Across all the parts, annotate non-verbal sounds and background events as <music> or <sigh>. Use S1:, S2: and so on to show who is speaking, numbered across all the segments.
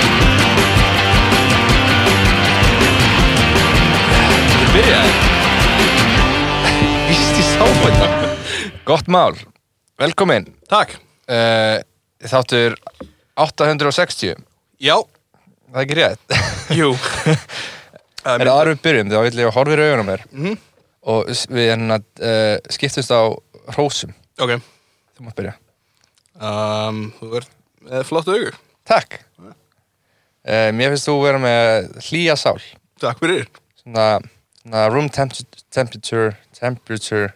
S1: <laughs> Gott mál, velkomin
S2: Takk.
S1: uh, Þáttur 860
S2: Já.
S1: Það er ekki rétt
S2: Jú.
S1: <laughs> En aðra við byrjum, þá vil ég að horfa í augunum mér mm
S2: Mhm,
S1: -hmm. Og s- við hérna uh, skiptumst á hrósum
S2: ok.
S1: Þú mátt byrja
S2: Um, þú ert með flott augur.
S1: Takk uh, Mér finnst þú vera með hlýja sál
S2: Takk fyrir.
S1: Svona, svona room temp- temperature Temperature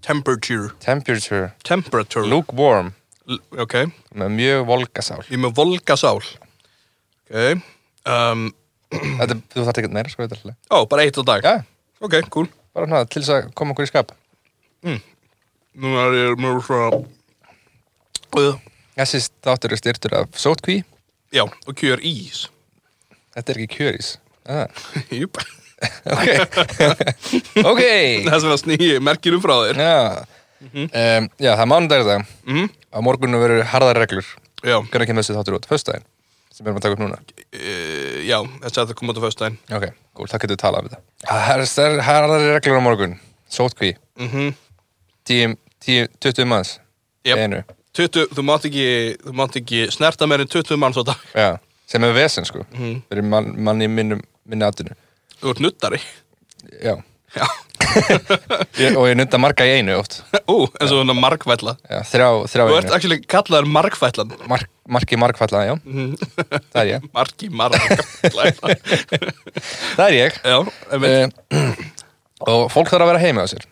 S2: Temperature.
S1: Temperature
S2: Temperature.
S1: Lukewarm
S2: L ok.
S1: Með mjög volga sál
S2: Ég er með volgasál. Ok. Um,
S1: Þetta, Þú þarft ekkert meira, sko þetta er alltaf
S2: ó, bara eitt á dag.
S1: Já,
S2: Ok, cool.
S1: bara hana, til þess að koma okkur í skap
S2: Nú er ég mjög svona... Uh,
S1: Þessi þáttur er styrtur af sótkví
S2: já, og kjör ís. <laughs>
S1: Þetta er ekki kjörís ah,
S2: Júp.
S1: Ok Ok
S2: <laughs> Það sem að snýja merkjunum frá þér.
S1: Já.
S2: Mhm.
S1: Um, já, það er mánudagur það
S2: Mm,
S1: Á morgunum verður harðar reglur
S2: já.
S1: Hvernig kemur þessi þáttur út? Föstudaginn sem við erum að taka upp núna
S2: Uh, já, þetta er að koma út á föstudaginn.
S1: Ok, gúl, það getur við talað um þetta Það er- Það er harðar reglur á morgun Sótkví
S2: Mm
S1: 10, 10, 20 manns
S2: Jep.
S1: Einu
S2: 20, þú mátt ekki, þú mátt ekki snerta meir en 20 manns á dag.
S1: Já, sem er vesen sko
S2: Mhm.
S1: Fyrir mann, mann í minnum, minni atinu
S2: Þú ert nuttari.
S1: Já
S2: Já.
S1: ég, Og ég nutta marga í einu oft
S2: <laughs> Ú, eins og svona markvætla.
S1: já, Þrjá, þrjá
S2: Þú
S1: í
S2: ert
S1: einu
S2: actually kallaður markvætlan.
S1: Mark, Marki markfalla, já
S2: Mhm.
S1: Það er ég
S2: Marki markvætla.
S1: <laughs> Það er ég
S2: Já, Eh, einmitt. Mhm.
S1: uh, og fólk þarf að vera heima á sér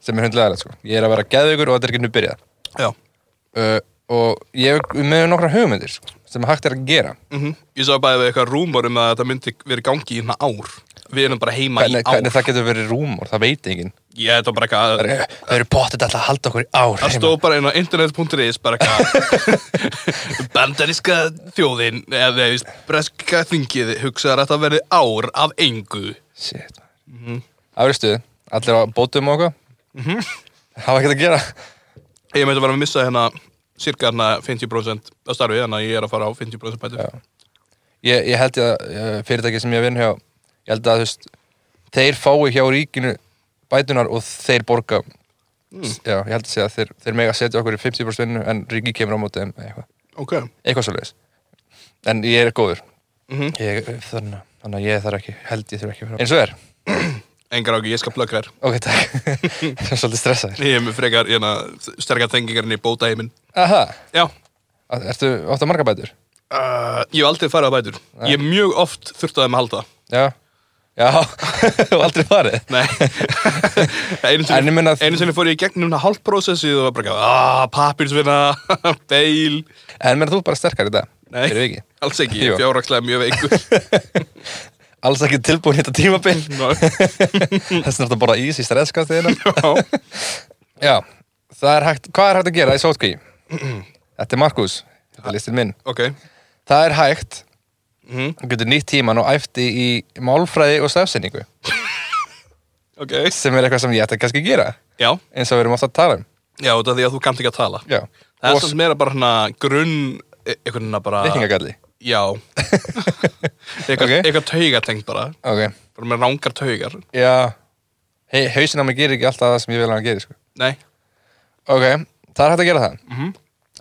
S1: sem er hundlega sko. ég er að vera geðugur og þetta er ekki nú byrjað
S2: Já.
S1: uh, og ég er með nokkra hugmyndir sko, sem hægt er að gera
S2: Mm Ég sá bara eitthvað rúmur um að þetta myndi verið í gangi í hérna ár. Við erum bara heima
S1: hvernig,
S2: í ár.
S1: hvernig það getur verið rúmur, það veit enginn
S2: Ég þetta var bara eitthvað
S1: það
S2: að...
S1: eru- það eru bóttið alltaf að halda okkur í ár
S2: Það
S1: heima.
S2: stóð bara inn á internet.is bara eitthvað
S1: <laughs>
S2: Bandaríska þjóðin eða þú veist, breska þingið hugsaðar að þetta verði ár af engu
S1: Shit.
S2: Mhm.
S1: afristuð, allir að bótum okkur hafa ekkert að gera
S2: Ég myndi að vera að missa hérna cirka hérna 50% af starfi þannig að ég er að fara á 50% bætur
S1: Já. ég, ég held ég að eh, fyrirtæki sem ég vinn hjá ég held að þú veist, þeir fái hjá ríkinu bætunar og þeir borga já, ég held að segja að þeir, þeir mega setja okkur í 50% vinnu en ríki kemur á móti þeim, eitthvað,
S2: Ok
S1: eitthvað svo en ég er góður
S2: Mhm.
S1: ég, þannig, þannig að ég þarf ekki held ég þurf ekki að fara eins og er,
S2: Engar ákveð, ég skal plugga þér
S1: ok takk <laughs> ég er svolítið stressaður
S2: Ég er með frekar, hérna, sterkar tengingar inn í bóta heiminn
S1: aha,
S2: Já
S1: ertu ofta marga bætur?
S2: uh, Ég hef aldrei farið á bætur Ég hef mjög oft þurft að þeim að halda
S1: já, já <laughs> og aldrei farið <laughs>
S2: Nei
S1: En
S2: Einu
S1: ég
S2: sinni,
S1: meina að-
S2: einu sinni fór ég í gegnum hérna hálfprósessi og var bara "Ah, að <laughs> pappirsvinna, beil
S1: en menn þú ert bara sterkar í dag,
S2: Nei.
S1: fyrir vikið
S2: Alls ekki, ég
S1: Jú.
S2: er fjárrakslega mjög veikur
S1: <laughs> alls ekki tilbúin í þetta tímabil
S2: Ná,
S1: þess að borða ís í
S2: <laughs>
S1: streðskastiðina
S2: já.
S1: Já, það er hægt, hvað er hægt að gera í sótkví? þetta er Markus, þetta er listin minn.
S2: Ok
S1: Það er hægt,
S2: mm,
S1: þú getur nýtt tíman og æfti í málfræði og stafsendingu,
S2: Ok
S1: sem er eitthvað sem ég ætti kannski að gera,
S2: Já,
S1: eins og við erum ofta að tala um.
S2: já, þetta er því að þú kannt ekki að tala
S1: Já,
S2: Það er
S1: og
S2: samt meira bara hana grunn e- einhvern veginn að bara
S1: reikningagalli.
S2: Já <laughs> Eitthvað,
S1: Ok.
S2: eitthvað taugatengt bara
S1: Ok,
S2: Bara með rángar taugar
S1: já, hey, hausin á mig gerir ekki alltaf það sem ég vil að hann gerir, sko.
S2: Nei
S1: Ok, það er hægt að gera það.
S2: Mhm.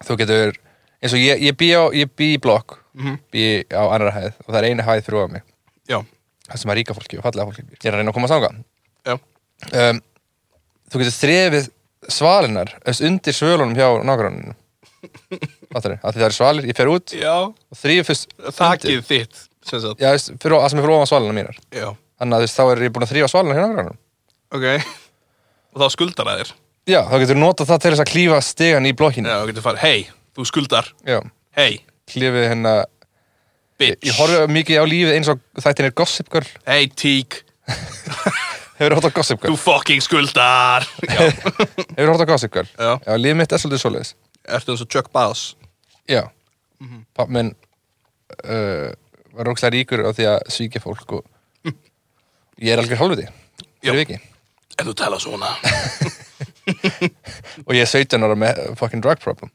S1: Þú getur, eins og ég, ég bý á, ég bý í blokk,
S2: Mhm.
S1: bý á annara hæð og það er einu hæð fyrir ofan mig,
S2: Já
S1: það sem að ríka fólki og fallega fólki býr. Ég er að reyna að komast þangað.
S2: Já
S1: um, þú getur þrefið svalinar efst undir svölunum hjá nágranninu Fattar þið? Af því það eru svalir, ég fer út
S2: Já
S1: og þrýfið fyrst
S2: Þakið þitt sem sagt
S1: Já, veist, fyrir, það sem er fyrir ofan svalina mínar
S2: Já
S1: Þannig að þú veist, þá er ég búin að þrýfa svalina hjá nágranninu
S2: Ok <laughs> Og þá skuldar það þér
S1: Já, þá getur notað það til þess að klífa stegan í blokkinu
S2: Já, þú getur farið Hei, þú skuldar
S1: Já,
S2: Hei,
S1: klífið hérna Ég,
S2: bitch
S1: ég horfði mikið á lífið eins og þættin er Gossip Girl
S2: Hei, tík
S1: Hefur hótt á Gossip Girl?
S2: Þú fucking <laughs> skuldar Já
S1: Hefur hótt á Gossip Girl?
S2: Já
S1: Já, lífið mitt er svolítið svoleiðis
S2: Ertu eins og Chuck Bass
S1: Já
S2: Mhm.
S1: Papp minn uh, var ókslega ríkur á því að svíkja fólk
S2: <laughs>
S1: og ég er algjör hálfuti fyrir
S2: Já.
S1: viki
S2: En þú tala svona
S1: og ég er 17 ára með fucking drug problem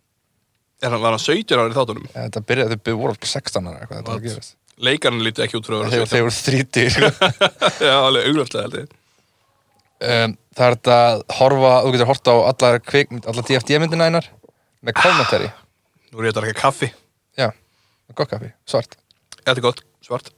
S2: Er hann, var hann 17 ára í þáttunum?
S1: þetta byrjaði, þau voru alveg 16 ára eitthvað þetta var að
S2: What?
S1: gerast
S2: Leikarinn lítið ekki út frá að vera <laughs>
S1: þegar þeir voru 30 sko.
S2: Já, alveg auglöfslega held ég
S1: um, það er þetta að horfa, þú getur horta á allar kvikmynd, allar DFD myndina einar með kommentari,
S2: Ah. Nú er ég að draka kaffi.
S1: já með gott kaffi, svart,
S2: Þetta er gott, svart.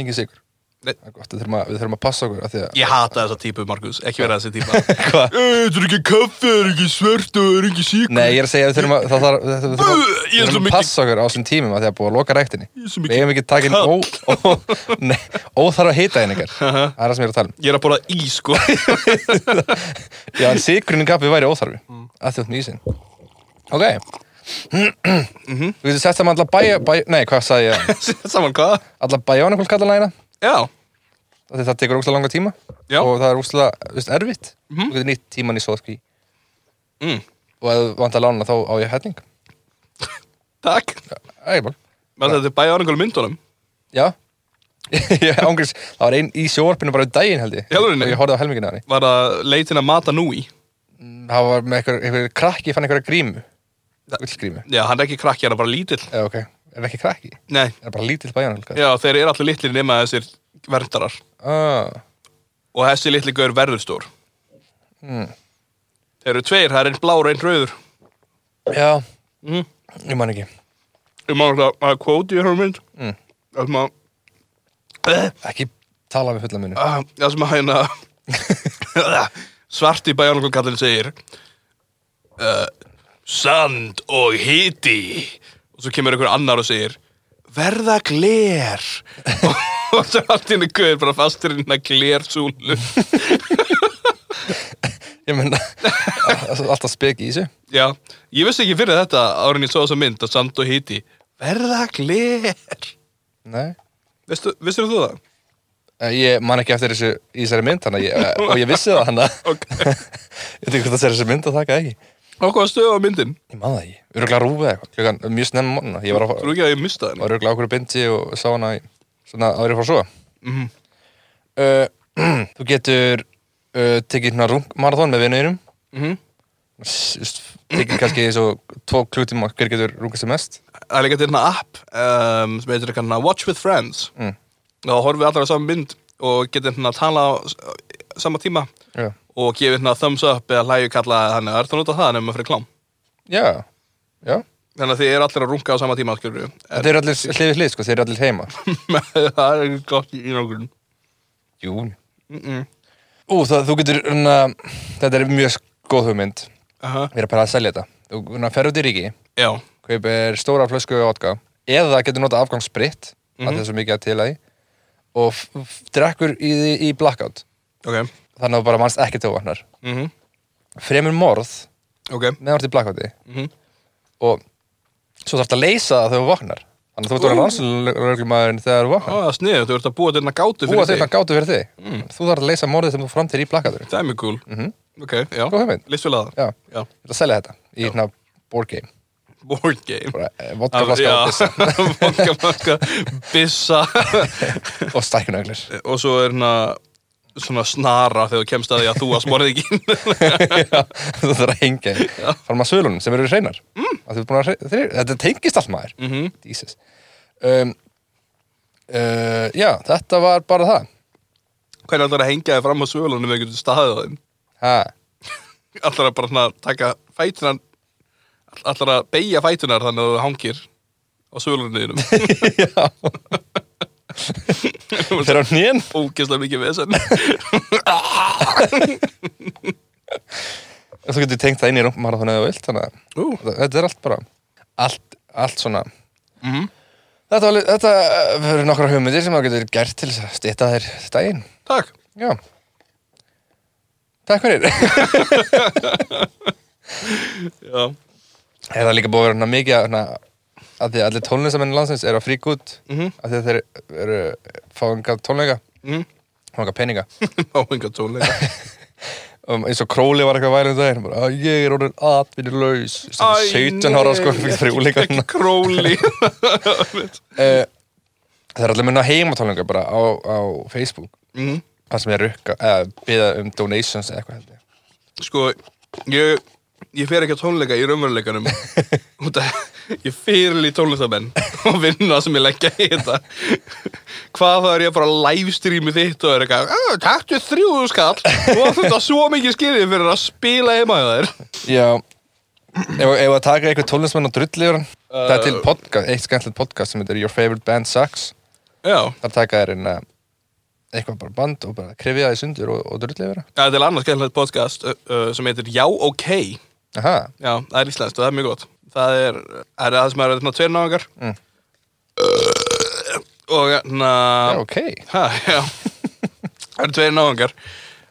S1: engin sigur
S2: Nei.
S1: Það er gott, við þurfum að, við þurfum að passa okkur af því að,
S2: Ég hata þessa típu, Markus. Ekki vera þessi <laughs> típa.
S1: Hvað?
S2: Eh, Þetta er ekki kaffi, það er ekki svart og það er ekki sík.
S1: Nei, ég er að segja að við þurfum að, það þarf, við þurfum að,
S2: Buh, ég
S1: við
S2: er svo
S1: þurfum að
S2: mikið,
S1: passa okkur á þessum tímum af því að búið að loka ræktinni
S2: ég er svo
S1: Við
S2: mikið.
S1: eigum ekki að taka inn ó, ó, <laughs> nei, óþarfa hita einingar
S2: Haha.
S1: Það er það sem ég er að tala um
S2: Ég er að borða ís, sko.
S1: Já, en sigurinn í kaffi væri óþarfi mm. að þjótt með ísinn Ok
S2: <clears throat> Mhm.
S1: Þú getur sett saman allar bæja, bæja Nei, hvað sagði ég?
S2: <laughs> Saman hvað?
S1: Allar bæjónakvöld kallanægina
S2: Já.
S1: Þetta það tekur úrslega langa tíma
S2: Já. Mhm.
S1: Og það er úrslega, þú veist, erfitt Þú getur nýtt tíman í sóðskví
S2: Mm.
S1: Og ef þú vant að lána þá á ég helling
S2: Takk.
S1: Ægir bara
S2: Með þetta er bæjarangul myndunum.
S1: Já <laughs> Ég ángriðs, það var einn í sjóvarpinu bara um daginn held ég
S2: Í alvörunni?
S1: Og ég horfði á helmingina af henni
S2: Var að leitin að mata núi.
S1: Það var með einhver, einhver krakki, fann einhverja grímu Ullgrímu
S2: Já, hann er ekki krakki, hann er bara lítill.
S1: Já, ok, er ekki krakki
S2: Nei.
S1: Er bara lítill bæjónakvöld
S2: Já, þeir eru allir litlir nema þessir verndarar.
S1: Ah,
S2: Og þessi litli gaur verður stór. Hmm. Þeir eru tveir, það er einn blár og einn rauður.
S1: já,
S2: Mm.
S1: ég man ekki
S2: Ég má að að kvóti í hörmynd.
S1: Mm.
S2: Það sem að... Eh,
S1: Ekki tala með fulla munu
S2: ah, Það sem að hérna- hæna... Svarti bæjarangul kallin segir... Uh, sand og hiti. Og svo kemur einhver annar og segir... Verða gler. og, og svo allt inni gaur bara fastur inn að glersúlu. Ah.
S1: Ég
S2: <laughs>
S1: menna, alltaf speki í þessu
S2: Já, ég vissi ekki fyrir þetta árin ég svo þessa mynd að sand og hiti verða gler
S1: Nei
S2: Vistu, Vissir þú það?
S1: Eh, Ég man ekki eftir þessu í þessari mynd hana, ég, eh, og ég vissi það hana
S2: <laughs> Ok,
S1: <laughs> Ég veit ekki hvort það er þessi mynd að taka ekki
S2: á hvað stöðu á myndin?
S1: Ég man það ekki, öruglega rúfið eitthvað Klukkan mjög snemma morgunna Ég var á
S2: Trú ekki að ég mista henni
S1: öruglega okkur bindi og sá hana í, svona árið frá svo
S2: Mhm.
S1: uh, <clears throat> Þú getur uh, tekið hérna rungmarathon með vinuðinum
S2: mm -hmm.
S1: Tekið kannski eins og tvo klutíma hver getur rungast sem mest
S2: Það er líka til hérna app um, sem heitir hérna Watch with Friends
S1: Mm.
S2: og þá horfum við allar á saman mynd og getum hérna að tala á s- sama tíma
S1: Já,
S2: og gefið hérna thumbs up eða hlæju kalla þannig að er það nota það nefnum fyrir klám
S1: já, já.
S2: þannig að þið eru allir að runga á sama tíma skilur
S1: Þeir eru allir hlið við hlið, sko, þeir eru allir heima.
S2: <laughs> það er gott í nokkur
S1: Jú.
S2: mm -mm.
S1: Ú, það, þú getur, unna, þetta er mjög góð hugmynd,
S2: Aha.
S1: við erum bara að selja þetta. Þú unna, fer út í ríki,
S2: Já,
S1: kaupir stóra flösku og vodka, eða getur nota afgangsbritt, mm
S2: Mhm.
S1: -hmm. að þessu mikið að til að því, og f- f- drekkur í því í blackout.
S2: ok
S1: Þannig að þú bara mannst ekki til vatnar.
S2: mm
S1: Fremur morð,
S2: Ok,
S1: meðan þú ert í blackouti,
S2: Mhm.
S1: og svo þarf að leysa það þegar þú vaknar. Þannig að þú ert að
S2: Ú.
S1: vera rannsóðurlöglumæðurinn þegar þú vaknar.
S2: Ó, það er sniðið, þú ert að búa til hérna gátu fyrir Mm.
S1: Búa þeirna gátu fyrir þig. Þú þarf að leysa morðið sem þú framtir í blakkaður.
S2: Það er mjög cool
S1: Mhm.
S2: Ok, já,
S1: Góð hugmynd.
S2: list vel að það
S1: Já,
S2: Já,
S1: ég ætla að selja þetta í hérna board game.
S2: board game
S1: Bara eh, vodkaflaska og pissa
S2: <laughs> Vodka flaska, bissa
S1: <laughs> og stækkunöglur.
S2: Og svo er hérna svona snara þegar þú kemst að því að þú að
S1: <laughs>
S2: smorðið ekki
S1: þú þarf að hengja þig. Fram að sölunum sem eru hreinar. Mm. Að þú ert búin að hreina. Þetta tengist allt maður.
S2: mm -hmm.
S1: Jesus. Um, uh, já, þetta var bara það.
S2: Hvernig ætlar að hengja þig fram á svölunum eða getur staðið á þeim?
S1: Ha,
S2: Ætlar að bara svona taka fætunar Ætlar að beigja fætunar þannig að þú hangir á svölunum
S1: <laughs>
S2: þínum
S1: já. Þeir á hnén.
S2: Ógeðslega mikið vesen
S1: Þú getur tengt það inn í rungmarathon eða þú vilt. Þannig að
S2: Ú,
S1: þetta er allt bara, allt, allt svona
S2: mhm
S1: Þetta, var, þetta eh, verður nokkra hugmyndir sem það getur gert til þess að stýta þér daginn.
S2: Takk
S1: Já. Takk fyrir. <laughs>
S2: Já
S1: Er það líka búið að vera hérna mikið að, hérna, að því að allir tónlistamenn landsins eru að frík út
S2: Mhm.
S1: að því að þeir eru fáingar tónleika,
S2: Mhm.
S1: fáingar peninga.
S2: Áhengar tónleika
S1: Um, eins og Króli var eitthvað værið um daginn, bara að ég er orðin atvinnulaus. Þú veist, þetta er 17 ára sko, fyrir fyrir úlíka
S2: <laughs> Ekki
S1: <laughs>
S2: króli
S1: Eh, Það er allir munna heimatónleika bara á, á Facebook,
S2: Mhm.
S1: það sem er rukka, eða byða um donations eða eitthvað held ég. <laughs>
S2: Sko, ég, ég fer ekki að tónleika í raunveruleikanum Út að Ég fyrirli tónlistamenn og vinna sem ég leggja í þetta. Hvað þá er ég að fara að livestreami þitt og er eitthvað, "Ah, taktu þrjúðu skall og þú þetta svo mikið skilið fyrir að spila heima hjá þér.
S1: Já Ef ef að taka einhver tónlismann og drulli yfir hann Það er til podcast, eitt skemmtilegt podcast sem heitir Your Favorite Band Sucks
S2: Já,
S1: Þar taka þér en eitthvað bara band og bara krifja það í sundur og, og drulli yfir hann
S2: það er til annars skemmtilegt podcast uh, uh, sem heitir Já, ok.
S1: Aha,
S2: Já, það er íslenskt og það er mjög gott Það er það, er það sem er svona tveir náðingar
S1: Mm.
S2: Og hérna
S1: já, ok
S2: ha, já. Það eru tveir náðingar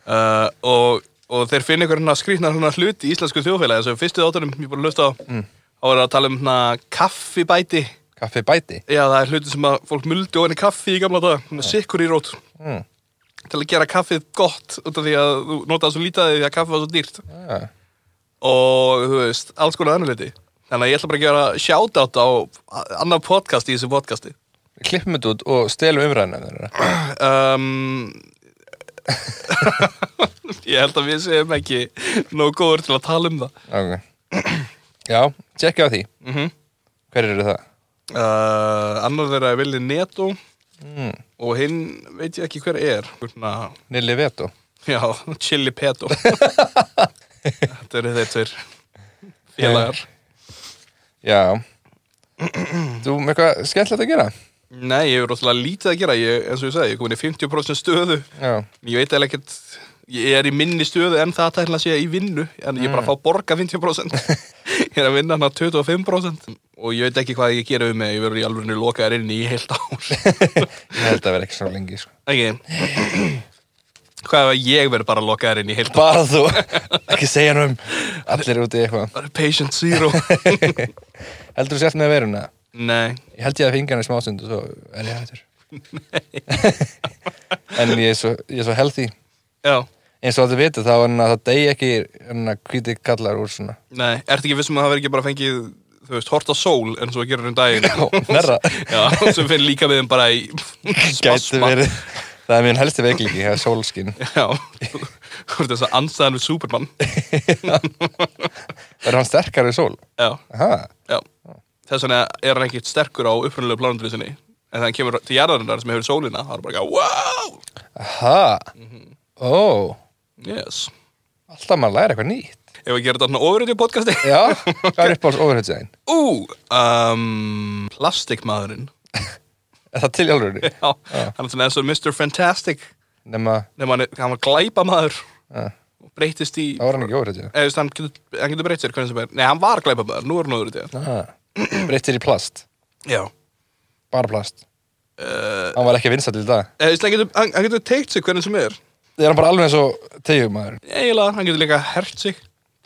S2: uh, og, og þeir finna ykkur hérna skrýtnar hérna hlut í íslensku þjóðfélagi þessu fyrstu þáttunum, ég búin að lusta á mm. og er að tala um hérna kaffibæti
S1: Kaffi bæti
S2: Já, það er hluti sem að fólk muldi ofan í kaffi í gamla daga, hún er sikkur í rót
S1: Mm.
S2: til að gera kaffið gott út af því að þú notaði svo lítið af því því að kaffið var svo dýrt
S1: Já,
S2: og þú veist, alls konar annarleiti þannig að ég ætla bara að gera shoutout á annar podcast í þessu podcasti
S1: Við Klippum þetta út og stelum umræðina <clears throat> þeirra
S2: um, <laughs> ég held að við séum ekki nóg góður til að tala um það
S1: Ok Já, tjekka á því
S2: mm -hmm.
S1: Hver eru það?
S2: uh, annar þeirra er Vili Neto
S1: Mm.
S2: og hinn veit ég ekki hver er Svona,
S1: Nilli Veto
S2: já, Chili Peto <laughs> þetta eru þeir tveir félagar
S1: <clears throat> Já Þú með eitthvað skemmtilegt að gera?
S2: Nei, ég er rosalega lítið að gera, ég, eins og ég sagði, ég er komin í 50% stöðu
S1: <laughs> Já,
S2: ég veit eða ekkert ég er í minni stöðu en það tækla að segja í vinnu en ég er
S1: Mm.
S2: bara að fá borga
S1: <laughs>
S2: 50% ég er að vinna hann að 25% og ég veit ekki hvað ég gera um mig ég verður í alveg lokaðar inn í heilt ár
S1: <laughs> ég held að vera ekki svo lengi sko.
S2: ekki hvað ef að ég verður bara lokaðar inn í heilt ár
S1: Bara þú, ekki segja nú um Allir úti í eitthvað
S2: bara patient
S1: <laughs>
S2: zero
S1: Heldur þú sért með veruna?
S2: nei,
S1: Ég held ég að finga hana í smástund og svo er ég <laughs> hættur En ég er svo, ég er svo healthy
S2: já,
S1: Eins og allir vita þá er hann að það degi ekki hann að hvíti kallar úr svona
S2: nei ertu ekki vissum að það verður ekki bara fengið þú veist, horta sól en svo gerir um daginn
S1: Nerra,
S2: <laughs> já, sem finn líka við þeim bara í
S1: gæti verið <laughs> Það er minn helsti veiklíki, það er sólskin
S2: já, þú þú ert þess að ansaðan við Superman
S1: Er hann sterkari í sól?
S2: já
S1: Aha,
S2: Já, þess vegna er hann ekkert sterkur á upprunalegu plánundri sinni en þannig kemur til jarðarinnar sem hefur sólina það er bara ekki wow,
S1: aha Mhm. Ó,
S2: yes
S1: alltaf maður læra eitthvað nýtt
S2: Ef við gerum þarna ofurrið í podcasti
S1: Já, hvað er uppáhalds overhautsæðin?
S2: Ú, um, plastikmaðurinn
S1: Er það til í alvörunni?
S2: Já, hann er svona eins og Mr. Fantastic
S1: Nefna,
S2: nema hann, er- hann var glæpamaður
S1: Já.
S2: og breytist í
S1: það var hann ekki overhautsæðin
S2: eða þú veist, hann getur, hann getur breytt sér hvernig sem er Nei, hann var glæpamaður, nú er hann ofurrið í
S1: Breyttir í plast,
S2: Já
S1: bara plast
S2: Uh,
S1: Hann var ekki vinsall í dag
S2: eða, eh, þú veist, hann, getur, hann, hann getur teikt sig hvernig sem er
S1: Það er hann bara alveg eins og tegjumæður
S2: eiginlega, hann getur líka hert sig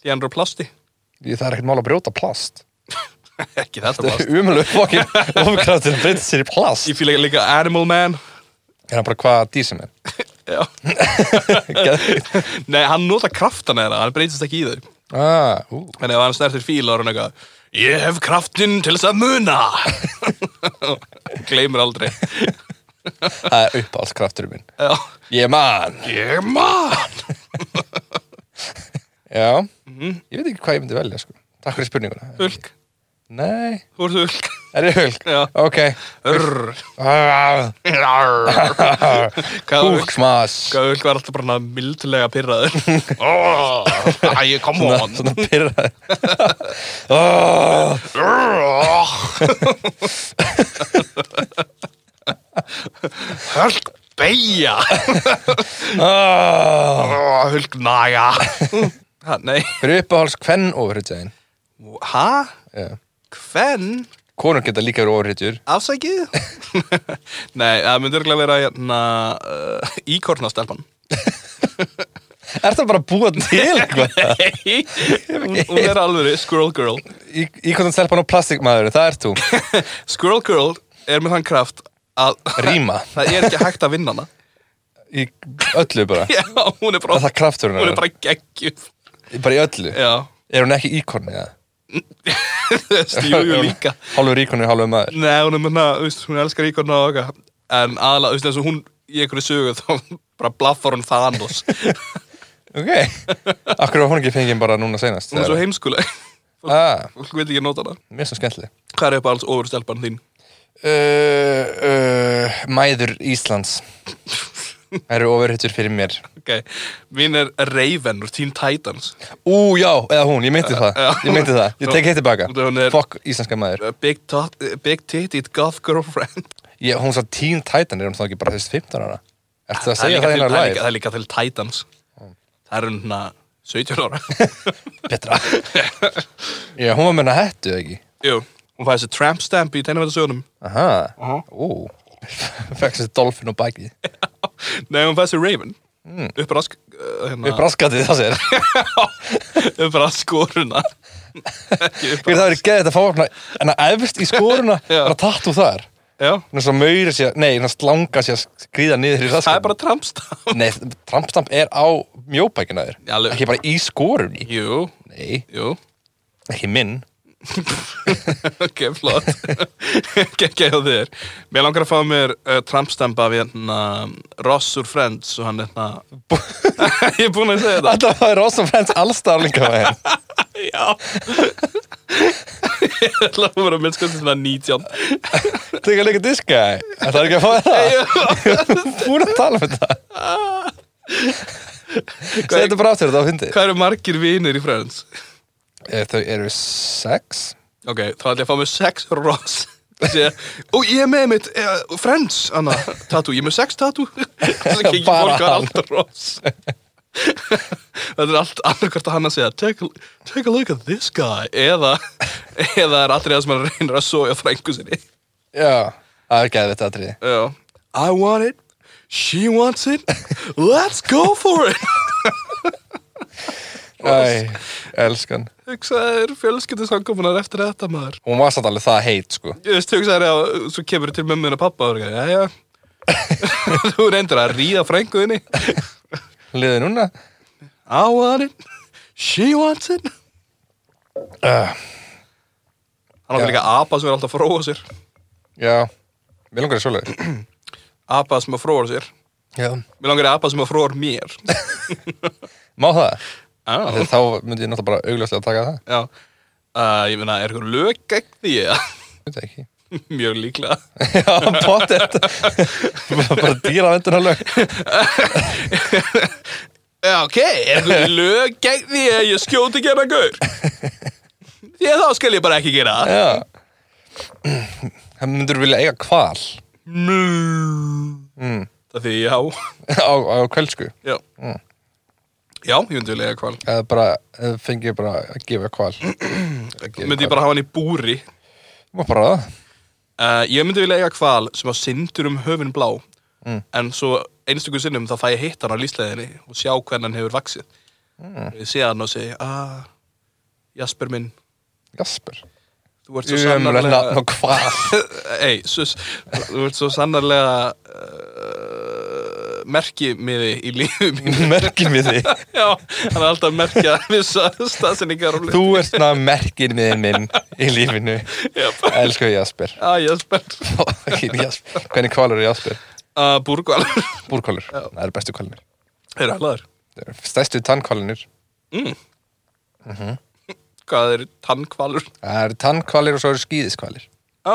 S2: því hann er á plasti
S1: Það er ekkert mál að brjóta plast
S2: ekki þetta
S1: Það
S2: plast
S1: <laughs> er umhverfið fokkin ofkraftur að breyta sér í plast
S2: Ég fíla líka Animal Man
S1: Er hann bara hvað dísum er
S2: Já.
S1: Geðveikt.
S2: Nei, hann nota kraftana þeirra, hann breytist ekki í þau
S1: ah, ú.
S2: En ef hann snertir fíl ára eitthvað Ég hef kraftin til þess að muna <laughs> Gleimur aldrei
S1: Það er uppáhaldskraftur minn
S2: Já.
S1: Ég man
S2: Ég man
S1: Já, ég veit ekki hvað ég myndi velja sko. Takk fyrir spurninguna
S2: Hulk,
S1: Nei,
S2: þú ert hulk
S1: er ég hulk?
S2: Já.
S1: Ok
S2: Urr.
S1: Ah,
S2: Arr. Hvað hulk?
S1: Húksmas
S2: Hvað hulk var alltaf bara mildlega pyrraður Æ, kom
S1: Svona,
S2: on
S1: svona <laughs> pyrrað oh,
S2: Hulk beigja
S1: oh.
S2: Hulk naga Ha, Nei,
S1: Fyrir uppáhalds kvenn ofurhutjæðin
S2: hæ?
S1: Já.
S2: Hvern?
S1: Konur geta líka verið ofurhutjur
S2: Afsækið? <laughs> Nei, það myndi örgulega vera hérna, uh, íkornastelpan.
S1: Er það bara að búa til eitthvað?
S2: <laughs> Nei, hún, hún er alveg Squirrel Girl.
S1: Íkvæmdan stelpan og plastikmaður, það ert
S2: <laughs>
S1: þú
S2: Squirrel Girl er með þann kraft að <laughs>
S1: Ríma
S2: það er ekki hægt að vinna hana.
S1: Í öllu bara
S2: <laughs> Já, hún er
S1: Er Það
S2: bara,
S1: er krafturinn
S2: hún er
S1: bara...
S2: bara geggjuð.
S1: bara í öllu
S2: Já, <laughs>
S1: Er hún ekki íkorni? Ja?
S2: stjúju líka.
S1: Hálfur íkorni, hálfur maður
S2: Nei, hún er með hana, þú veist, hún elskar íkorna og okkar. En aðla, þú veist, eins og hún í einhverju sögu <laughs> þá bara blaffar hún Thanos. <laughs>
S1: Ok Akkur var hún ekki fengið bara núna seinast
S2: Hún er svo
S1: eða?
S2: heimskuleg. <laughs>
S1: Ah,
S2: Fólk veit ekki að nota hana.
S1: mér finnst það skemmtileg
S2: Hvað er upp alls ofur stelpan þín? Eh,
S1: uh, uh, Mæður Íslands Það eru ofurhittur fyrir mér
S2: Ok, mín er Raven úr Teen Titans.
S1: Ú, já, eða hún, ég meinti það
S2: já.
S1: Ég meinti það, ég tek hitt tilbaka
S2: Hún er-
S1: Fuck íslenska maður
S2: Uh, Big, tot, uh, big titted goth girlfriend.
S1: ég, Hún svo Teen Titan, er hún þá ekki bara þess 15 ára? Ertu að
S2: er
S1: segja
S2: líka
S1: það
S2: til-
S1: hennar
S2: það er líka-
S1: live?
S2: Það er líka til Titans. Það er hérna 17
S1: <laughs>
S2: ára.
S1: Betra Já, hún var meina hættu, eða ekki?
S2: Jú, hún fæði þessi tramp stamp í tennifæðasögunum.
S1: Aha,
S2: Aha.
S1: ú Fekk sér dolfin og bæki
S2: Nei, hún fæði þessi Raven.
S1: Hmm.
S2: Mm. Upprask... Uh, hérna,
S1: Við braskatið það sér
S2: <laughs> Uppraskoruna.
S1: <laughs>
S2: Ekki
S1: Fyrir
S2: uppra-
S1: það verið geðið að fá hana, hana efst í skóruna
S2: Já.
S1: Hana tattu þar
S2: Já,
S1: Þannig að maura sér, nei, þannig að slanga sér skrýða niður í
S2: það er
S1: raskatið
S2: bara tramp stamp.
S1: Nei, trampstamp er á mjóbækina þér
S2: Já, alveg.
S1: Ekki bara í skórunni
S2: Jú,
S1: Nei,
S2: jú.
S1: ekki minn
S2: ok, flott <laughs> Gekki á þér Mér langar að fá mér uh, trampstempa við hérna Ross úr Friends og hann hérna <laughs> Ég er búinn að
S1: <laughs>
S2: segja þetta
S1: Þetta var Ross og Friends allstar líka með henn
S2: Já Ég ætla að vera að minnska svona 19
S1: Tekka líka diska Það er ekki að fá það Búin að tala um þetta Segð þetta bara áttur þetta á hundi
S2: Hvað eru margir vinir í Friends?
S1: Eh, Þau eru sex
S2: Ok, þá ætla ég að fá mér sex Ross Sé, Og ég er með mitt uh, Friends, Anna, tattoo, ég er með sex tattoo <laughs> Svo kikið
S1: Bara
S2: fólk að
S1: hann.
S2: alltaf Ross <laughs> Þetta er allt annarkvært að hann að segja take a, take a look at this guy Eða, eða er allir það sem hann reynir að soja frængu sinni
S1: Já, það er geðið þetta atriði
S2: Já I want it, she wants it Let's go for it <laughs>
S1: Æ, elskan
S2: Hugsaðir fjölskyldu samkomunar eftir þetta maður
S1: Hún var samt alveg það heit sko
S2: Ég veist, hugsaðir að svo kemur þú til mömmun og pappa og það er Þú reyndir að ríða frænguðinni
S1: Liðið núna
S2: I want it, she wants it
S1: uh,
S2: Hann
S1: Já.
S2: ákveð líka apa sem er alltaf að fróa sér
S1: Já, mér langar að svolega
S2: Apa sem að fróa sér
S1: Já
S2: Mér langar að apa sem að fróa mér
S1: Má það?
S2: Já,
S1: Þegar þá myndi ég náttúrulega bara augljóslega að taka það
S2: já uh, Ég meina, er eitthvað lög gegn því? eða? <laughs>
S1: Þetta ekki <laughs>
S2: Mjög líklega
S1: Já, pottet <laughs> Bara dýra vendurna lög
S2: Já, ok, er eitthvað lög gegn því að ég skjóti ekki hérna gaur? Því að þá skal ég bara ekki gera það
S1: Já Það myndur vilja eiga kval
S2: Mm. Það því, já
S1: á, á kvöldsku
S2: Já Já, ég myndi vilja eiga hval
S1: eða bara, eða fengi ég bara að gefa kval Gefa
S2: Myndi ég
S1: hval.
S2: bara hafa hann í búri
S1: Má bara það
S2: uh, Ég myndi vilja eiga hval sem að syndur um höfin blá En svo einstöku sinnum þá fæ ég hitt hann á lísleðinni Og sjá hvernig hann hefur vaxið Ég sé hann og segi ah, Jasper minn,
S1: Jasper
S2: þú ert svo
S1: Umlega nafn
S2: sannarlega
S1: og kval
S2: <laughs> Ei, sus, þú ert svo sannarlega uh, Merki miði í lífum
S1: <laughs> Merkin við því
S2: Já, hann er alltaf að merkja <laughs> Vissa staðsendingar og hluti.
S1: Þú ert svona merkin við minn í lífinu
S2: Jep.
S1: Elsku Jasper
S2: Ah, Jasper
S1: Fucking Jasper. Hvernig kvalur er Jasper?
S2: uh, <laughs> Búrkvalur
S1: Búrkvalur, það eru bestu kvalinir
S2: Þeir eru hlæður
S1: Það eru Stærstu tannkvalinir
S2: Hvað er tannkvalur?
S1: Það eru tannkvalir og svo eru skýðiskvalir
S2: Ó,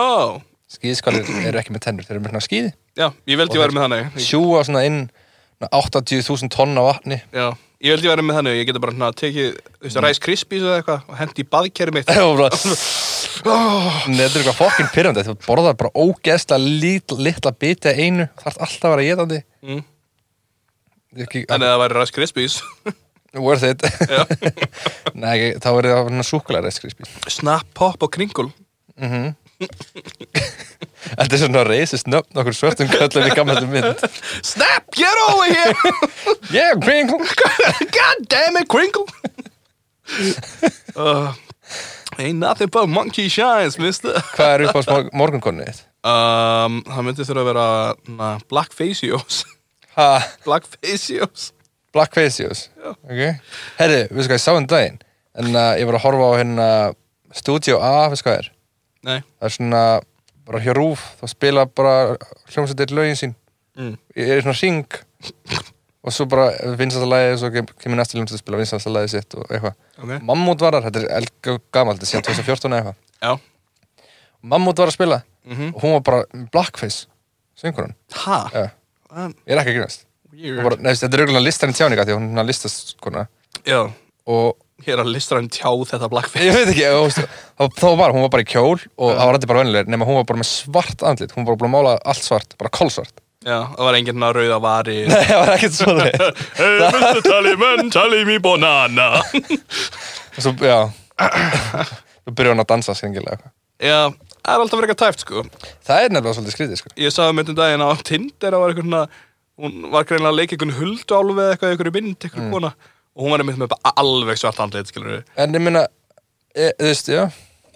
S1: Skýðiskvalir eru ekki með tennur, þeir eru með svona skýði
S2: já, ég veldi ég væri með þannig
S1: Sjúa svona inn svona 80.000 tonna vatni
S2: Já, ég veldi ég væri með þannig Ég geti bara hana, tekið, þú veist, Rice Krispies eða eitthvað og hendi í baðkerið <laughs> mitt
S1: og bara Nei, þetta er eitthvað fokkin pyrrandi þú borðar bara ógeðslega lit, litla biti af einu, þarf alltaf að vera getandi
S2: Mm.
S1: ekki,
S2: Þannig að það væri Rice Krispies
S1: worth it <laughs> Nei, ekki, þá verður það svona súkulega reiskrispi
S2: Snap, pop og kringul
S1: Þetta er svona reisist nöfn okkur svörtum köllum í gamlega mynd
S2: Snap, get over here
S1: Yeah, kringle
S2: <laughs> God damn it, kringul <laughs> uh, Ain't nothing but monkey shines, mister
S1: Hvað er upp á smor morgunkonni þitt?
S2: um, Það myndi þurfa að vera na, Black <laughs> Facios
S1: Ha,
S2: Black Facios
S1: Black Facios Ok Herri, við sko, ég sá um daginn En uh, ég var að horfa á hérna Studio A, við sko, er
S2: Nei,
S1: það er svona bara hjá rúf þá spila bara hljómsveitir lögin sín
S2: Mm.
S1: ég er í svona ring og svo bara vinstasta lagið og svo kem- kemur næsta ljómsveit að spila vinstasta lagið sitt og eitthvað
S2: Ok.
S1: Mammút var þar, þetta er elga gamalt þetta er síðan 2014 eða eitthvað
S2: Já.
S1: Mammút var að spila
S2: Mhm.
S1: og hún var bara með blackface söngurinn,
S2: Ha?
S1: ja,
S2: Um,
S1: ég er ekki að grínast Hún bara,
S2: weird.
S1: nefnst, þetta er auðvitað listan í tjáninga því að hún er listast kona
S2: Já.
S1: og
S2: Ég er að listra hann tjá þetta
S1: ég
S2: blackface.
S1: veit ekki, þú veist, þá, þá var hún var bara í kjól og það var allir bara vennilegur nema hún var bara með svart andlit, hún var bara búin að mála allt svart bara kolsvart <laughs>
S2: Já, það var enginn að rauða vari.
S1: Nei, það var ekkert svo þig
S2: <laughs> Hey, Mr. Tallyman, tally me <laughs> banana.
S1: og svo, já þú byrjuði hún að dansa skringilega eitthvað.
S2: Já, það er alltaf verið eitthvað tæft, sko.
S1: það er nefnilega svolítið skrítið, sko
S2: Ég sagði myndum daginn að á Tinder að var eitthvað svona, hún var greinlega að leika eitthvað huldálfi eða eitthvað, eitthvað mynd, eitthvað kona. Og hún var einmitt með bara alveg svart andlit, skilur við.
S1: en ég meina, e, þú veist, já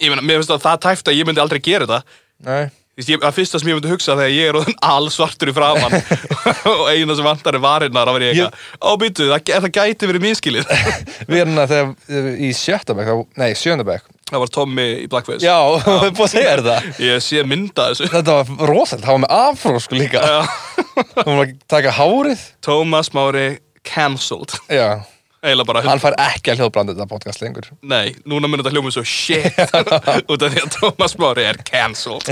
S2: Ég meina, mér finnst að það tæft að ég myndi aldrei gera þetta.
S1: nei,
S2: Þú veist, ég- Það fyrsta sem ég myndi hugsa þegar ég er orðinn <laughs> allsvartur í framann <laughs> og eina sem vantar er varinnar að vera ég eitthvað. Ó, býtu, það, gæ- það gæti verið miskilið.
S1: við erum það þegar í sjötta bekk, þá- nei, sjönda bekk
S2: <laughs> það var Tommy í Blackface.
S1: já, <laughs> við erum búin að segja þér það
S2: Ég sé mynda þessu. <laughs>
S1: þetta var rosalega, það var með afró, sko líka
S2: Já.
S1: hún var að taka hárið
S2: Thomas Mári cancelled.
S1: já,
S2: Eila bara,
S1: hann fær ekki að hljóðblanda þetta podcast lengur
S2: nei, núna myndir þetta hljóma svo shit <laughs> út af því að Thomas Mári er cancelled.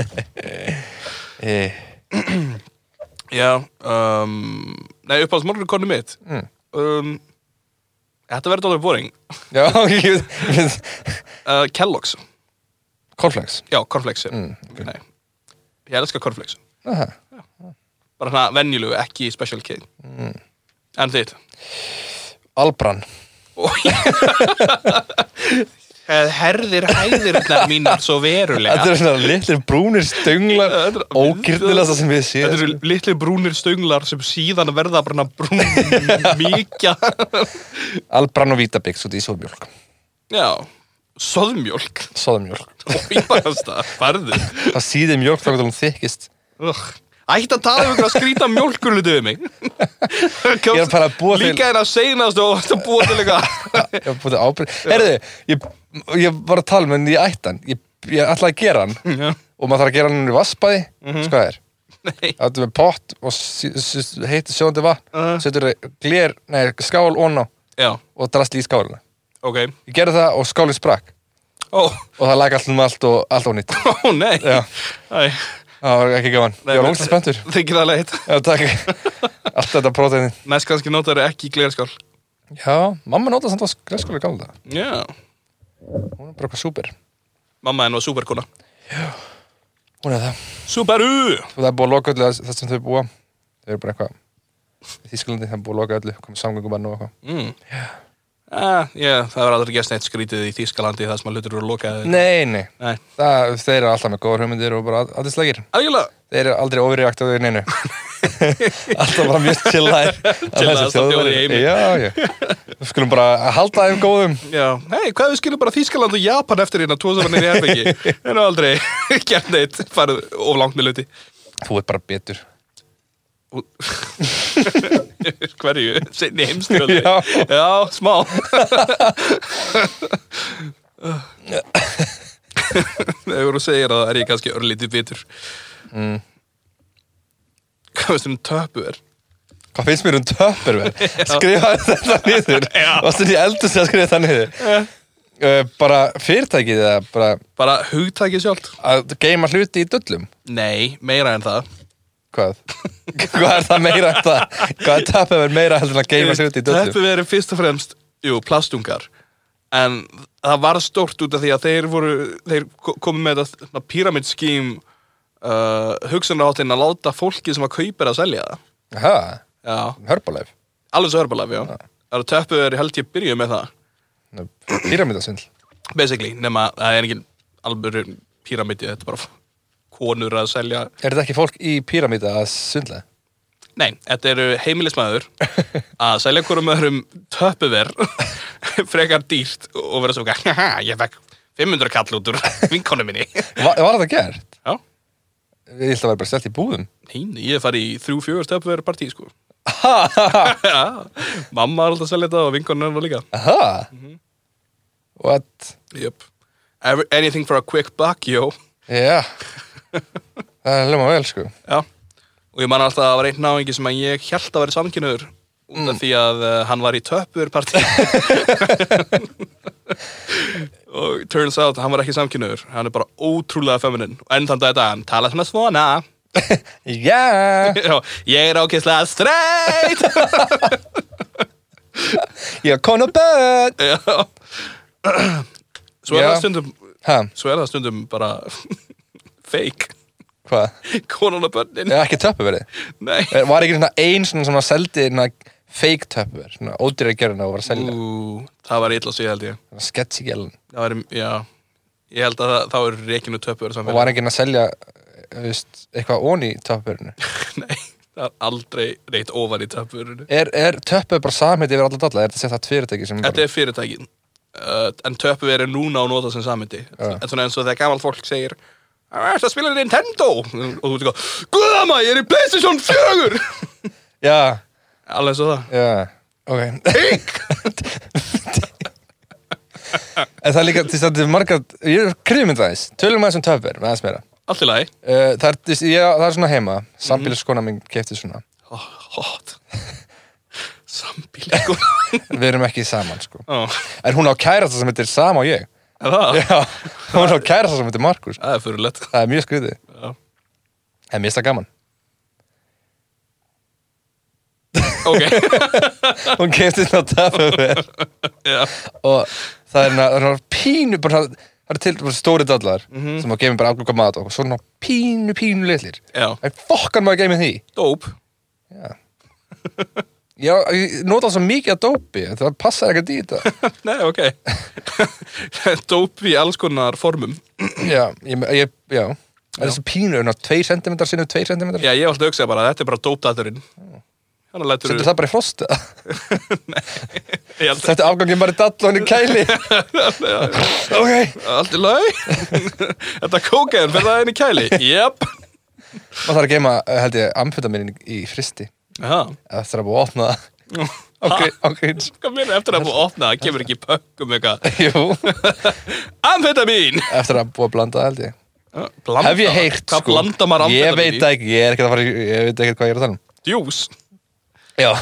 S1: e,
S2: Já, um, nei, uppáhalds morgunrekordinu mitt.
S1: Mm.
S2: Um, þetta verður alveg boring.
S1: já, <laughs> ég veit
S2: Uh, Kellogg's.
S1: Cornflakes
S2: Já, cornflakes já.
S1: Mm,
S2: Nei, ég elska cornflakes
S1: Aha.
S2: Bara hana venjulegu, ekki special kid
S1: Mm.
S2: En þitt
S1: Albran
S2: Og Það Herðir hæðirnar mínar svo verulega
S1: Þetta eru svona litlir brúnir stönglar
S2: Þetta er-
S1: Ógirnilegasta sem við
S2: Þetta
S1: séum
S2: eru litli brúnir stönglar sem síðan verða bara brún mikja
S1: Albran og vítabix út í sóðmjólk
S2: Já, soðmjólk
S1: Sóðmjólk
S2: Íbarasta, farðu
S1: Það síði mjólk þá hvernig hún þykist
S2: Ugh. Ætti að tala um ykkur að skrýta mjólkurlutu við mig Ég
S1: er bara að búa til-
S2: Líka er að seinast og ætti að búa til eitthvað
S1: Ég var búin að ábyrg Herðu, ég, ég var að tala með henni í ættan Ég, ég ætlaði að gera hann
S2: Já.
S1: Og maður þarf að gera hann í vassbæði mm
S2: Mhm.
S1: -hmm. Sko það er
S2: Nei
S1: Það er með pott og sí- sí- heitir sjóðandi vatn
S2: Uh.
S1: Setur glér, nei, skál onna
S2: Já,
S1: Og drast í skálina
S2: ok
S1: Ég gerði það og skálinn sprakk
S2: Ó, <laughs>
S1: Og það laga allt um allt og allt ónýtt
S2: ó nei
S1: Já.
S2: Æ,
S1: Það var ekki gaman.
S2: Nei,
S1: ég var
S2: men-
S1: ógst spenntur.
S2: Þykir það leitt
S1: Já, takk. Allt þetta próteinin.
S2: Næst kannski notar ekki glerskál
S1: Já, mamma notaði samt á græskóla í gamla. daga.
S2: Já
S1: Hún er bara eitthvað súper.
S2: Mamma henn var superkona
S1: Hún er það.
S2: Superu
S1: Og það er búið að loka öllu það sem þau búa. Þau eru bara eitthvað í Þísklandi, það er búið að loka öllu, komið samgöngubann og eitthvað.
S2: mm. ah, Já, það var aldrei gerst neitt skrítið í Þýskalandi þar sem að hlutur eru lokaði
S1: Nei, nei.
S2: Nei
S1: Það, þeir eru alltaf með góðar hugmyndir og bara allir slægir.
S2: Algjörlega
S1: Þeir eru aldrei ofirreakt á þau
S2: <laughs>
S1: neinu. alltaf bara mjög chillar.
S2: Chillaðasta þjóð í heimi.
S1: Já, já. Við skulum bara halda þeim góðum.
S2: Já, hei, hvað við skilum bara Þýskaland og Japan eftir hérna Tvo saman er í herbyggi <laughs> Það er aldrei gert neitt Farið of langt með hluti
S1: Þú ert bara betur.
S2: Ú- <laughs> Hverju? Seinni heimstjóði
S1: Já.
S2: Já, smá Þegar þú segir að það er ég kannski örlítið bitur
S1: Mm.
S2: Hvað veist um töpu er?
S1: Hvað finnst mér um
S2: <laughs>
S1: töpperverð? Skrifaði þetta niður
S2: Já. Eh.
S1: Varstu því eldur sem að skrifa þetta niður uh, Bara fyrirtækið eða bara
S2: Bara hugtækið sjálft
S1: að geima hluti í döllum
S2: Nei, meira en það
S1: Hvað? <laughs> Hvað er það meira en það? Hvað er töpperverð meira heldur en að geima hluti í döllum?
S2: Töpu verið fyrst og fremst Jú, plastungar En það var stórt út af því að þeir voru Þeir ko- komu með þetta píramidskím uh, Hugsanarháttin að láta fólki sem að kaupa er að selja það
S1: Ha,
S2: Já,
S1: hörbuleif
S2: alveg svo Herbalife, já. Það eru töppu er held ég byrjuð með það,
S1: Pyramidasvindl
S2: basically, nema að það er engin alvöru píramidi, þetta er bara konur að selja.
S1: Er þetta ekki fólk í píramida að svindla?
S2: Nei, þetta eru heimilismæður að selja hverjum öðrum töppuver <laughs> frekar dýrt og vera svo haha, ég fekk 500 kall út úr vinkonu minni.
S1: Var, var þetta gert?
S2: Já,
S1: Ég ætla að vera bara stelt í búðum
S2: neini, ég hef farið í þrjú, fjögur töppuver partí, sko. Já, mamma var alltaf að selja þetta og vinkonan var líka.
S1: Aha What?
S2: Jöp. Every- Anything for a quick buck, yo.
S1: Já Það er hljóma vel sko
S2: Já, og ég man alltaf að það var einn náingi sem að ég held að vera samkynniður út
S1: Mm.
S2: af því að uh, hann var í
S1: <laughs>
S2: töppurpartí og turns out hann var ekki samkynnuður hann er bara ótrúlega feminin og enn þann dag þetta hann tala svona svona <laughs>
S1: Já,
S2: Já, ég er ákesslega straight <laughs>
S1: ég er konu börn
S2: Já. svo
S1: Já.
S2: er það stundum
S1: Hæ,
S2: svo er það stundum bara <laughs> fake
S1: hvað?
S2: konan og börnin
S1: Já, ekki töpuverið
S2: Nei.
S1: Var ekki svona ein svona sem að seldi svona fake töpuver Svona ódýra gerðina og var að selja
S2: Ú, það var illa að segja held ég
S1: Svona sketchy gælun
S2: það var, já, ég held að það, þá er reikinu töpur
S1: Og var ekki að selja eh, þú veist, eitthvað onni í töpuverinu
S2: <laughs> Nei, það er aldrei reitt ofan í töpurinu
S1: Er, er töpuver bara samhætt yfir alla dalla? Er þetta sett það fyrirtæki sem
S2: Þetta er fyrirtækin uh, en töpur er núna á nota sem samindi
S1: Já.
S2: en svona eins og þegar gamalt fólk segir Það er að spila Nintendo og þú veit ekki, guðama, ég er í Playstation 4
S1: Já,
S2: <laughs> Alveg svo það
S1: já, ok
S2: Pink!
S1: En það er líka, til þess að þetta er margar, ég er krifmynd aðeins, tölum aðeins um töfver, aðeins meira.
S2: Allt í lagi
S1: Uh, það, er, þú veist, ég, það er svona heima,
S2: Mhm.
S1: sambíliskona mín kefti svona.
S2: Ó, Hot <laughs> Sambílíku
S1: <laughs> Við erum ekki saman, sko.
S2: Það
S1: En hún á kærasta sem heitir Sam og ég.
S2: Ah.
S1: Já, hún á kærasta sem heitir Markus.
S2: Það er fyrirlegt
S1: Það er mjög skrítið.
S2: Já.
S1: En mér er það gaman.
S2: Ok <laughs>
S1: Hún kefti svona töfver
S2: Já.
S1: og það er hérna- það er svona pínu, bara það það eru til bara stóri dallar sem að gefa mér bara aflöka mat og svona pínu, pínu litlir.
S2: Já,
S1: En fokkan maður gefa mér því.
S2: dóp
S1: Já, ég nota svo mikið að dópi, það passar ekkert í þetta.
S2: Nei, ok <laughs> Dóp í alls konar formum
S1: Já, ég, ég, já. Það er svo pínu, svona 2 cm sinnum 2 cm.
S2: Já, ég var alltaf að hugsa bara, þetta er bara dópdaturinn Þannig lætur
S1: Sendur það bara í frosta.
S2: Ég held-
S1: <laughs> Þetta afgangið bara í dall og henni kæli. ok.
S2: Allt í lagi <laughs> Þetta kókaðin fyrir það inn í kæli Jep
S1: Maður þarf að geima, eh, held ég, amfetaminin í fristi.
S2: Já
S1: Eða Eftir að búið að opna það. Ok, ok. eins.
S2: Hvað meina eftir að búið að opna það kemur ekki í pökkum eitthvað
S1: Jú,
S2: Amfetamín
S1: eftir að búið að blanda það, held ég.
S2: Blanda-
S1: Hef ég heyrt, sko.
S2: Hvað blanda maður
S1: Ég
S2: amfetamín
S1: veit það ekki, ég er ekkert að fara, í- ég veit ekkert hvað ég er að tala um.
S2: Djús
S1: <laughs> Já,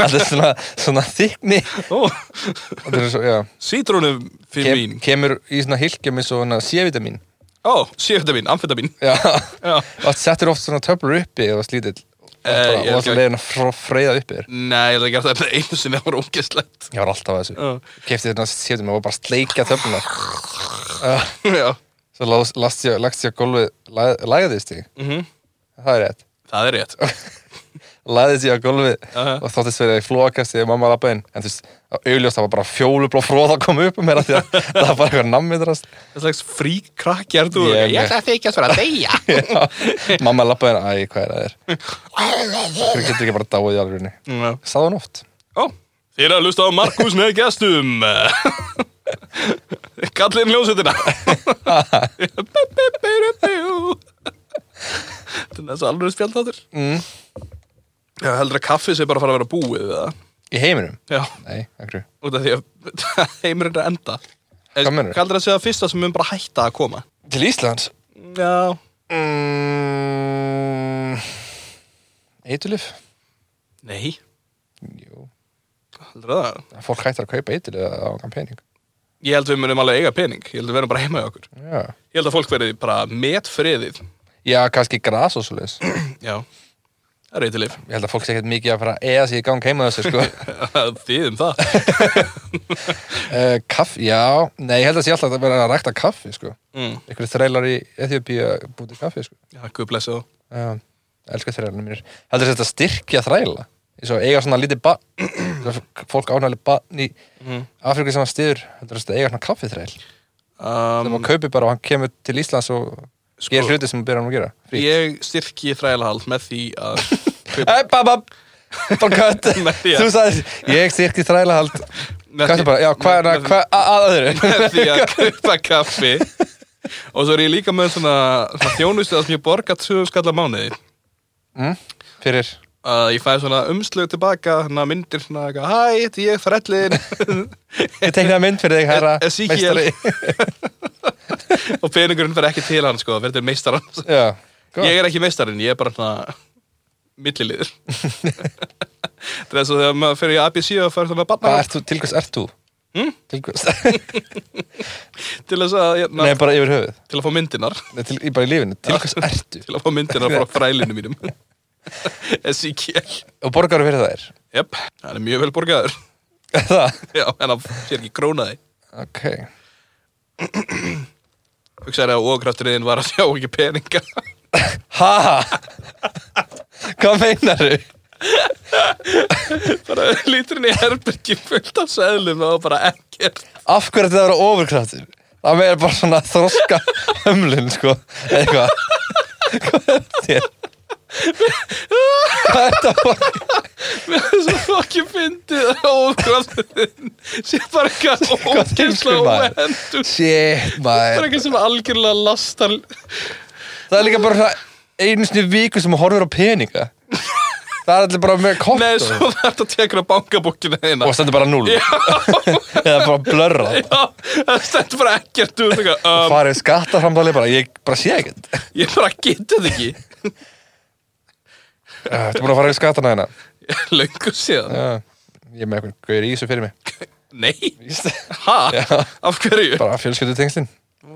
S1: allir svona, svona þykni.
S2: Ó,
S1: Þetta er svo, já.
S2: Sítrónum fyrir
S1: Kem,
S2: mín
S1: kemur í svona hilkjum eins og svona C-vitamin.
S2: Ó, C-vitamin, amfetamín
S1: Já.
S2: Já
S1: og það settir oft svona töflur uppi og slítill
S2: Eh, ég
S1: og
S2: ekki-
S1: það leiðin að fr- freyða uppi þér
S2: Nei, ég ætla ekki að gera það einu sinni Það var ógeðslegt <laughs>
S1: ég var alltaf að þessu
S2: Já.
S1: kefti þetta sétum og var bara að sleikja töfluna
S2: Já
S1: svo las, last ég, lagst ég að gólfið lag- lagðist ég,
S2: Mhm.
S1: það er rétt
S2: Það er rétt
S1: lagðist ég að gólfið
S2: Aha.
S1: og þóttist verið að ég flokast þegar mamma lappa inn en þú veist, á augljóst það var bara fjólublá fróð að koma upp um mér af því <laughs> að það var bara eitthvað <laughs> nammindrast
S2: Það er slags frí krakki er þú
S1: Ég-
S2: Ég ætla að þykja svona
S1: <laughs>
S2: að deyja
S1: mamma lappa inn, æ, hvað er það er hverju getur ekki bara dáið í alvegni
S2: Já.
S1: sagði hún oft
S2: Já, þið er að lusta á Markus með gestum <laughs> Kallinn ljósutina Þetta er næst alveg spjaldáttur mm. Já, heldur að kaffið sé bara að fara að vera búið eða?
S1: í heiminum
S2: Já,
S1: nei, einhverju
S2: út af því að <laughs> heimurinn er að enda Eh,
S1: Hvað meinarðu?
S2: Hvað heldur að segja að fyrsta sem mun bara hætta að koma?
S1: til Íslands
S2: Já,
S1: Mm, Eitulif?
S2: nei
S1: Jú,
S2: Heldur það?
S1: fólk hættar að kaupa eitulif á hann pening
S2: Ég held við munum alveg eiga pening Ég held við verðum bara heima í okkur
S1: Já,
S2: Ég held að fólk verði bara metfriðið
S1: Já kannski gras og svoleiðis
S2: Já, það er eitthilif
S1: Ég held að fólk sé ekkert mikið að fara að eða sig í gang heima þessu sko.
S2: <laughs> Þið um það
S1: uh, Kaff, já, nei, ég held að sé alltaf að vera að rækta kaffi sko.
S2: mm.
S1: Einhverju þreilar í Ethiopía búti kaffi sko.
S2: Já, guð blessi þá
S1: Já, elskar þreilarnir mínir Heldur þetta að styrkja þræla Svo eiga svona lítið ba <clears throat> Fólk ánægli bann í
S2: Mhm. Mm.
S1: Afríku sem hann stiður Heldur þetta að eiga svona kaffi þræl sem
S2: um,
S1: maður kaupi bara og hann kemur til Íslands og sko, gerir hluti sem maður byrjar hann að gera <laughs> frí.
S2: Ég styrki þrælahald með því að <laughs> kaupa-
S1: Æ, bab, bab, bara
S2: <laughs>
S1: kött
S2: Nei, já.
S1: þú sagði, ég styrkti þrælahald
S2: með
S1: kött
S2: því-
S1: bara, já, hvað er
S2: með-
S1: það, hvað að- að öðru
S2: með því að kaupa kaffi og svo er ég líka með svona, svona þjónustu að sem ég borga 200 skall að mánuði
S1: <laughs> fyrir,
S2: að ég fæ svona umslög tilbaka hana myndir svona, eitthvað, hæ, þetta er ég þrællin
S1: ég teiknaði mynd fyrir þig herra,
S2: Ezekiel. <laughs> og peningurinn fer ekki til hann sko, það verður meistaran
S1: já, gott. <laughs>
S2: Ég er ekki meistarinn, ég er bara svona milliliður Þetta er eins og þegar maður fyrir í ABC og fyrir það með
S1: Hvað
S2: barna
S1: ert þú, til hvers ert þú?
S2: Hmm?
S1: Til hvers? <laughs>
S2: til þess að,
S1: Nei,
S2: hérna,
S1: bara yfir höfuð.
S2: til að fá myndinar
S1: Nei, til, í- bara í lífinu. Til hvers ertu?
S2: til að fá myndina
S1: <laughs>
S2: frá frælinu mínum <laughs> Ezekiel
S1: Og borgaru fyrir það er.
S2: Jep, hann er mjög vel borgaður <laughs>
S1: Er það?
S2: Já, en hann sér ekki krónaði
S1: Ok.
S2: Hugsaði að ókrafturinn var að sjá ekki peninga <laughs>
S1: Ha? Hvað meinar þú?
S2: bara líturinn í herbergi fullt af seðlum og bara ekkert
S1: Af hverju þetta að vera ofurkraftur? Það meira bara svona þroska hömlun, sko. Eða eitthvað. Hvað er þér? Hvað er þetta borgaru?
S2: Mér er svo fokkið fyndið að ókrafturinn sé bara eitthvað
S1: heimskur
S2: ókenslega
S1: maður.
S2: óhendur
S1: Shit,
S2: Það er
S1: maður.
S2: eitthvað sem algjörlega lastar
S1: Það er líka bara svona einu sinni í viku sem maður horfir á peninga. Það er allir bara með kort
S2: Nei,
S1: og-
S2: <laughs> svo þarf þetta að tekra bankabókina hérna. þeina
S1: og stendur bara 0 eða bara blörra
S2: Já, það stendur bara ekkert út um,
S1: farið skattaframtali bara, ég bara sé ekkert
S2: Ég bara geti þetta ekki
S1: Ah, Ertu búin að fara í skattana hérna?
S2: Löngu síðan
S1: Já, Ég er með eitthvað gauður í þessu fyrir mig
S2: Nei,
S1: Víst? Já.
S2: ha? Af hverju?
S1: Bara fjölskyldu tengslinn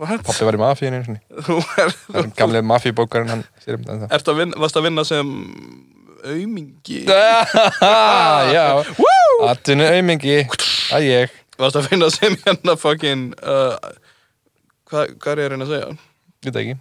S2: What?
S1: Pappi var í mafíinu einu sinni
S2: Þú er,
S1: Það er gamli mafíubókarinn hann sér um þetta
S2: ert að vinna, varst að vinna sem aumingi
S1: Ah, Já, atvinnu aumingi Það er ég
S2: Varst að vinna sem hérna fucking uh, hvað, hvað er ég að reyna að segja?
S1: Ég veit ekki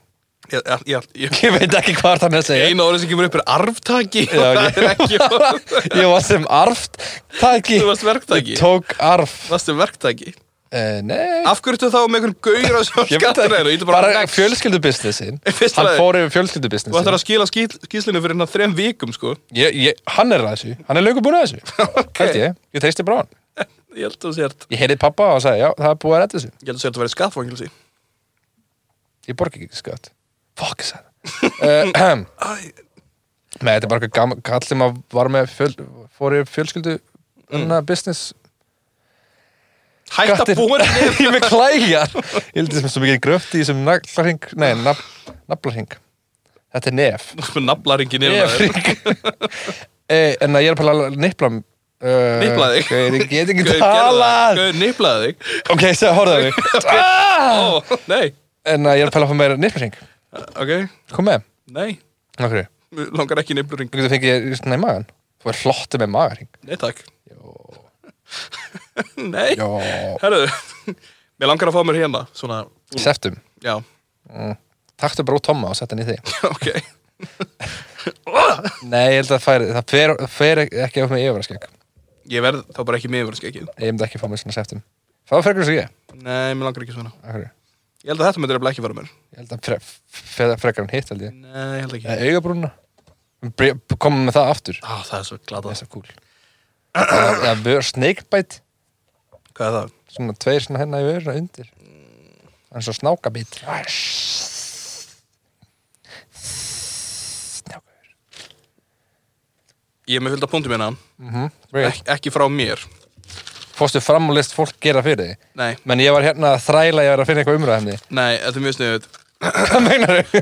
S2: Ég, ég, ég, ég,
S1: Ég veit ekki hvað það er að segja
S2: eina orðið sem kemur upp er arftaki
S1: Já, ok.
S2: <laughs> Það er ekki orð
S1: <laughs> Ég var sem arft Tæki
S2: Þú varst verktaki
S1: Ég tók arf
S2: Varstu verktaki
S1: uh, Nei
S2: Af hverju ertu þá með einhvern gaur
S1: <laughs>
S2: að sjá
S1: Ég veit
S2: skattar
S1: ekki.
S2: eru? Ítu bara,
S1: bara
S2: bara
S1: fjölskyldubusinessin
S2: Í <laughs> fyrsta
S1: hann
S2: lagi.
S1: fór yfir
S2: Þú ættir
S1: fjölskyldubusinessin
S2: að skila skýl, skýslinu fyrir hérna þrem vikum sko <laughs>
S1: ég, ég, hann er að þessu, hann er löngu búin að þessu okay. held ég, ég treysti bara á hann
S2: Ég held að þú sért
S1: ég heyrði pappa og hann sagði, já, það er búið að redda þessu
S2: Ég held að þú sért að vera í skattfangilsi
S1: ég borgi ekki skatt fuck is
S2: <laughs>
S1: that uh, nei, þetta er bara eitthvað gaman kall sem að var með fjöl, fór yfir fjölskyldu mm. business
S2: Hætt að
S1: Skattir.
S2: búa
S1: <laughs>
S2: henni
S1: ég
S2: <laughs>
S1: er með klæjar ég held þessum svo mikið gröft í þessum naflarhing nei, naf, naflarhing þetta er nef
S2: nefn Naflaringin er
S1: Ég
S2: maður.
S1: frík <laughs> Eh, En að ég er bara að nipla uh,
S2: Nipla þig.
S1: Gauð, ég
S2: <laughs>
S1: get ekki
S2: Gauð, gerðu það.
S1: talað
S2: Gauð, niplaði þig
S1: Ok, segja, horfðu á
S2: <laughs>
S1: mig Ah!
S2: Ó, nei
S1: En að ég er að pæla að fá meira niplaring
S2: Ok,
S1: Kom með,
S2: nei
S1: okkur
S2: Mér Langar ekki niplaring
S1: Þú getur fengið svona í magan Þú er flottu með magaring
S2: Nei takk <laughs>
S1: Jó,
S2: Nei
S1: jó
S2: <laughs> Herðu Mér langar að fá mér hérna Svona
S1: Seftum
S2: Já, <laughs>
S1: Taktu bara út Tomma og setja hann í þig
S2: ok
S1: Nei, ég held að færi, það fer, fer ekki upp með yfirvaraskegg
S2: Ég verð þá bara ekki með yfir skekkið
S1: Ég myndi ekki fá mér svona seftum Það var frekar svo ég
S2: Nei, mér langar ekki svona
S1: Akkur Ég
S2: Ég held að þetta myndir að ekki fara mér
S1: held að fre, fre, frekar hann hitt held ég
S2: Nei, ég held ekki
S1: Eða augabrúnna Bre- Komum með það aftur
S2: Á, Ah, það er svo glata
S1: Það er svo cool Það er vör snakebite
S2: Hvað er það?
S1: Svona tveir svona hérna í vörna undir Það er svo snákabit Snákabit
S2: Ég er með fullt af punktum hérna
S1: Great.
S2: Ek, Ekki frá mér
S1: Fórstu fram og list fólk gera fyrir þig
S2: Nei,
S1: Menn ég var hérna að þræla ég var að finna eitthvað umræðandi
S2: nei, þetta er mjög sniðut
S1: Hvað meinar þau?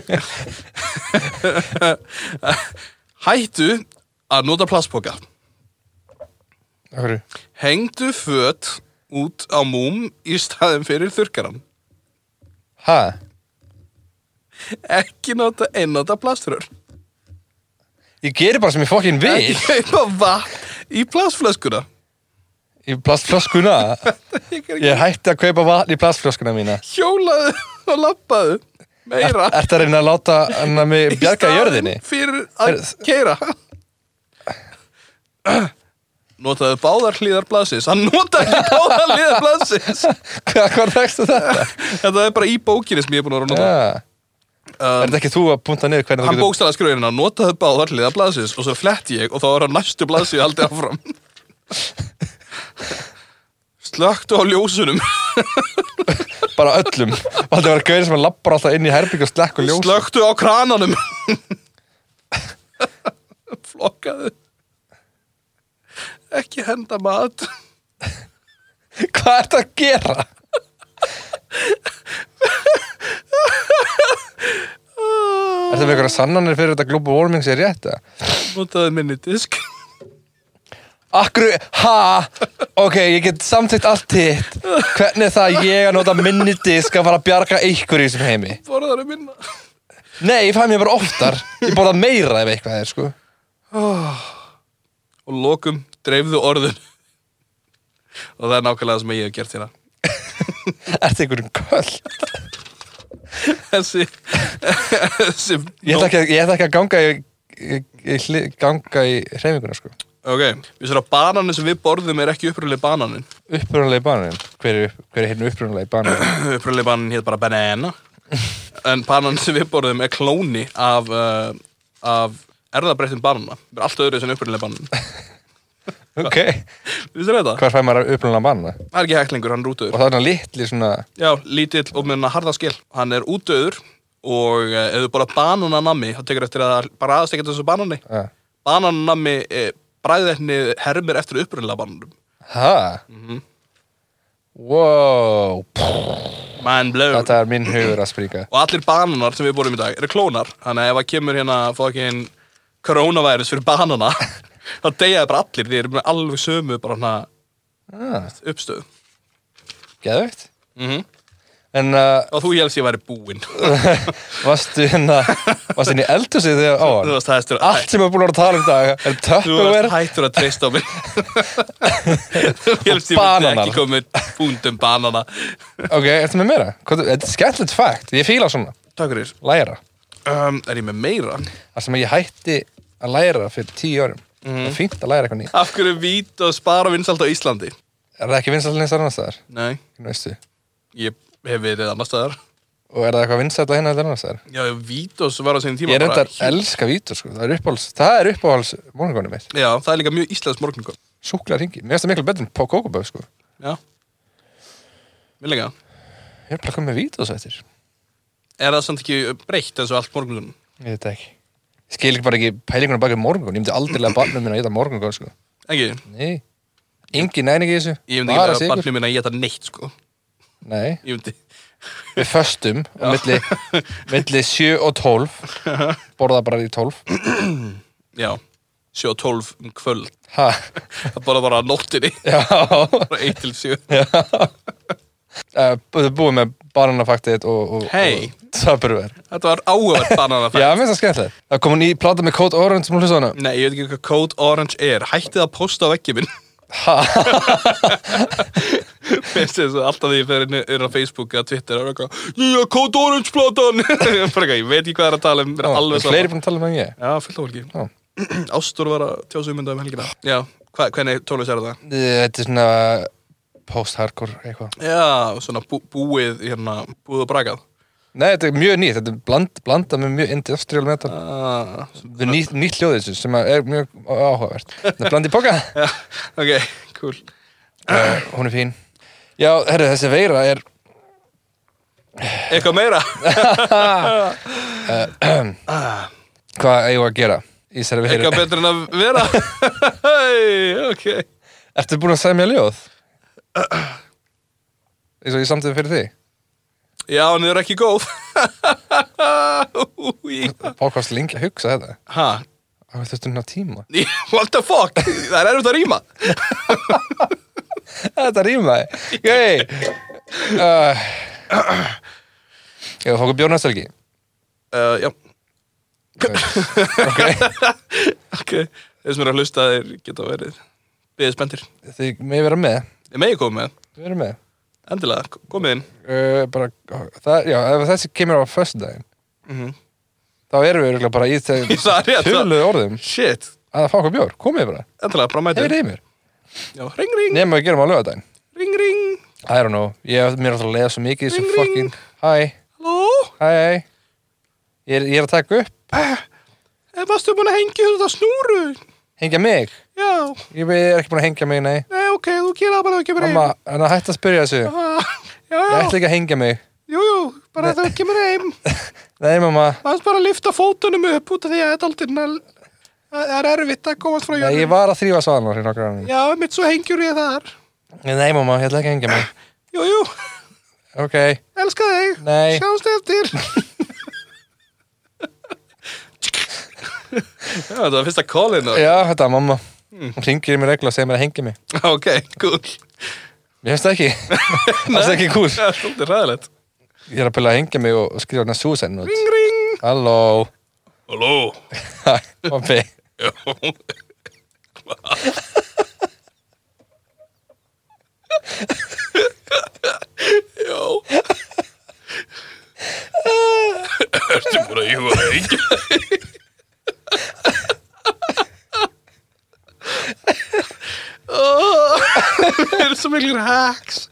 S2: Hættu að nota plastpoka
S1: Akkur
S2: Hengdu föt út á múm í staðin fyrir þurkaran
S1: Ha?
S2: Ekki nota einnota plaströr
S1: Ég geri bara sem ég fokkin
S2: Ekki
S1: vil
S2: kaupa vatn í plastflöskuna <laughs>
S1: Í plastflöskuna
S2: Ég er ekki
S1: Ég er hætti að kaupa vatn í plastflöskuna mína
S2: hjólaðu og lappaðu Meira
S1: Ertu að reyna að láta hann að mig
S2: Í
S1: bjarga
S2: staðinn
S1: jörðinni?
S2: Fyrir að
S1: Heyrðu.
S2: keira Notaðu báðar hlýðar blaðsins Hann notaði ekki báðar hlýðar blaðsins
S1: Hvað, hvað rekstu þetta?
S2: Þetta er bara í bókinni sem ég er búin að vera að
S1: Já
S2: nota
S1: Er þetta ekki þú að punta niður hvernig þú
S2: Hann
S1: getur
S2: bókstæla skröðina, notaðu báðar hliða blaðsins og svo fletti ég og þá er hann næstu blaðsíð aldrei áfram. Slökktu á ljósunum,
S1: bara öllum <laughs> og þetta var gauðir sem að labbar alltaf inn í herbyggja og slekk og ljós
S2: slökktu á krananum. Flokkaðu. Ekki henda mat.
S1: hvað er þetta að gera? Er þetta með einhverja sannanir fyrir þetta global warming sér rétt? eða?
S2: Notaðu minni disk.
S1: Akkur, ha, ok, ég get samtækt allt hitt Hvernig er það að ég að nota minni disk að fara að bjarga ykkur í þessum heimi?
S2: Borðar er minna
S1: Nei, ég fæ mér bara oftar Ég borða meira ef eitthvað er, sko
S2: Og lokum, dreifðu orðun Og það er nákvæmlega það sem ég hef gert hérna
S1: Ertu einhverjum köll?
S2: Þessi Þessi
S1: Ég ætla ekki, að- ég ætla ekki að ganga í, í, í, í ganga í hreyfinguna, sko
S2: Ok, við sér að bananin sem við borðum er ekki uppröðlega bananin
S1: Upprunalegi banin Hver er, hver er hérna upprunalegi banin?
S2: Uppröðlega bananin hétt bara banana En bananin sem við borðum er klóni af, uh, af erðabreittum banana Það er allt öðru sem uppröðlega bananin
S1: <laughs> Ok,
S2: Við sér þetta?
S1: hvar fær maður upprunalegi banina?
S2: Það er ekki hæklingur, hann er
S1: Og
S2: útöður
S1: það er hann litli svona
S2: Já, lítill og með hann harða skil Hann er útöður og uh, ef þú borðar banananami þá tekur eftir að það bara aðast ekkert þessu banani
S1: uh,
S2: bananami eh, bræðetni hermir eftir upprunnilega bananum
S1: Ha? Wow
S2: Man blown
S1: Þetta er minn hugur að springa
S2: og allir bananar sem við borum í dag eru klónar þannig að ef að kemur hérna fókin koronaværus fyrir banana <laughs> þá deyjaði bara allir því eru með alveg sömu bara hana
S1: ah,
S2: uppstöðu
S1: Geðveikt
S2: mm
S1: En uh,
S2: og þú helst ég væri
S1: <laughs>
S2: búinn
S1: varstu hérna Varstu hérna í eldhúsið þegar á
S2: þú
S1: hann
S2: varst hættur að
S1: Allt sem við erum búin að vera að tala um í dag Er
S2: þú varst
S1: töppuver
S2: hættur að treysta
S1: <laughs>
S2: á mig þú helst ég myndi
S1: bananar.
S2: ekki komið búndum um banana
S1: Ok, ertu með meira? Hvað- Þetta er skemmtilegt fakt Ég fíla svona
S2: takk fyrir
S1: Læra
S2: um, er ég með meira?
S1: Það sem ég hætti að læra fyrir tíu árum
S2: Mhm.
S1: Það er fínt að læra eitthvað nýtt
S2: af hverju vít og spara vinsalt á Íslandi?
S1: Er það ekki vinsælt neins annars staðar?
S2: nei
S1: Hvernig veistu?
S2: ég hef verið annar staðar
S1: Og er það eitthvað vinsælt að hérna eða annars staðar?
S2: já, Vítos var á sinni tíma
S1: Ég er
S2: bara-
S1: reyndar elska vítur sko Það er uppáhalds Það er uppáhalds Móningónum mitt
S2: já, það er líka mjög íslensk morgungum
S1: Súklar ringi Mér finnst það miklu betur en kókoböð sko
S2: já, mér líka
S1: Ég er bara komið með vítus eftir
S2: er það samt ekki breytt eins og allt morgungum
S1: Ég veit það ekki Ég skil ekki bara ekki pælingunum bakið morgun Ég myndi aldrei lega barnum minna að geta morgun sko
S2: ekki,
S1: Nei Engi næning í þessu
S2: ég myndi ekki
S1: Bara
S2: vera
S1: sykur.
S2: barnið minna að geta neitt sko
S1: Nei
S2: ég myndi,
S1: Við föstum á milli, milli 7 og
S2: <laughs>
S1: 12 Borða bara í 12
S2: já 7 og 12 um kvöld
S1: Ha
S2: það bara bara á nóttinni
S1: Já
S2: bara 1 til 7
S1: Eh, Þú uh, búið með bananafaktið og, og,
S2: Hey.
S1: og Töpurver
S2: þetta var áhugað banana
S1: Já, mér finnst það skemmtilegt Það kom hún í plata með Code Orange sem hún hlusta á hana
S2: nei, ég veit ekki hvað Code Orange er hættið að posta á veggi minn
S1: Ha,
S2: Finnst þess að alltaf því ég fer inn inn á Facebook eða Twitter og eitthvað Nýja Code Orange platan <laughs> Bara eitthvað, Ég veit ekki hvað það er að tala um mér er <laughs> alveg
S1: Fleiri
S2: saman
S1: búin að tala með ég
S2: Já, fullt af
S1: Já.
S2: fólki <clears throat> Ástur var að tjósa ummynda um helgina Já, hva, hvernig tónlist er það?
S1: Þetta er svona post-hardcore eitthvað
S2: Já, svona bú, búið hérna, búið og brakað
S1: Nei, þetta er mjög nýtt, þetta er bland, blandað með mjög industrial metal
S2: ah,
S1: Þetta er nýtt, nýtt hljóð í þessu sem er mjög áhugavert Þetta er blandið
S2: <laughs>
S1: boka,
S2: Já, ok, cool
S1: uh, hún er fín Já, herru, þessi veira er
S2: Eitthvað
S1: <laughs>
S2: meira?
S1: hvað eigum við að gera í þessari veira
S2: Eitthvað betur en að vera? Hey, ok
S1: Ertu búin að segja mér ljóð? Eins og ég samtíðum fyrir þig
S2: Já, en þið eru ekki <laughs> góð Új.
S1: Pákvast lengi að hugsa þetta
S2: Ha, <laughs>
S1: Það þurftum hérna tíma
S2: what the fuck? Það er erfitt að rýma
S1: Þetta rýmaði Gei uh, Ég var fókuð bjórnastelgi
S2: Uh, já,
S1: Ok
S2: <laughs> ok. Þeir sem eru að hlusta þeir geta verið byggðið spendir.
S1: Þið með vera með
S2: Þið megi komið með,
S1: Við erum með
S2: endilega, k- komið inn.
S1: uh, bara, það, Já, ef þessi kemur á föstudaginn
S2: Mm
S1: þá erum við örugglega bara í
S2: Í það,
S1: þegar
S2: rétt,
S1: tölu orðum
S2: Shit,
S1: að fá okkur bjór, komið bara,
S2: endilega, bara mætið.
S1: hefur þið mér
S2: Já, ring, ring,
S1: nema við gerum á lögadaginn
S2: ring, ring,
S1: I don't know, ég mér er alltaf að leiða svo mikið í þessu
S2: Ring, ring.
S1: fucking, hæ,
S2: halló,
S1: hæ hæ. ég er, ég er að taka upp
S2: Eh, varstu búin að hengja þetta snúru?
S1: hengja mig,
S2: Já,
S1: ég er ekki búin að hengja mig, nei
S2: nei, ok, þú gera það bara ekki verið.
S1: mamma, hann að hætta að spyrja þessu ég
S2: Já, já,
S1: ætla ekki að hengja mig,
S2: jú, jú, bara þú kemur heim.
S1: nei mamma
S2: Maður bara að lifta fótunum upp út af því að þetta aldrei nal- það er erfitt að komast frá
S1: nei, ég
S2: jörðum.
S1: var að þrýfa svaðan á nokkra ánum
S2: Já, mitt svo hengjur ég þar.
S1: nei mamma, ég ætla ekki að hengja mig
S2: Jú, jú,
S1: ok,
S2: elska þig.
S1: nei,
S2: Sjáumst eftir Já, þetta var fyrsta call-in
S1: já, þetta er mamma hún ringir í mig regla og segir mér að hengja mig
S2: Ok, cool
S1: Mér finnst það <laughs> ekki, það er ekki kúl
S2: Það er svolítið ræðilegt
S1: Ég er að pæla að hengja mig og skrifa hérna suicide note
S2: Ring, ring
S1: Halló,
S2: Halló
S1: Hæ, pabbi
S2: Já. Já Ertu búin að hjúa það ekki? Það eru svo miklir hacks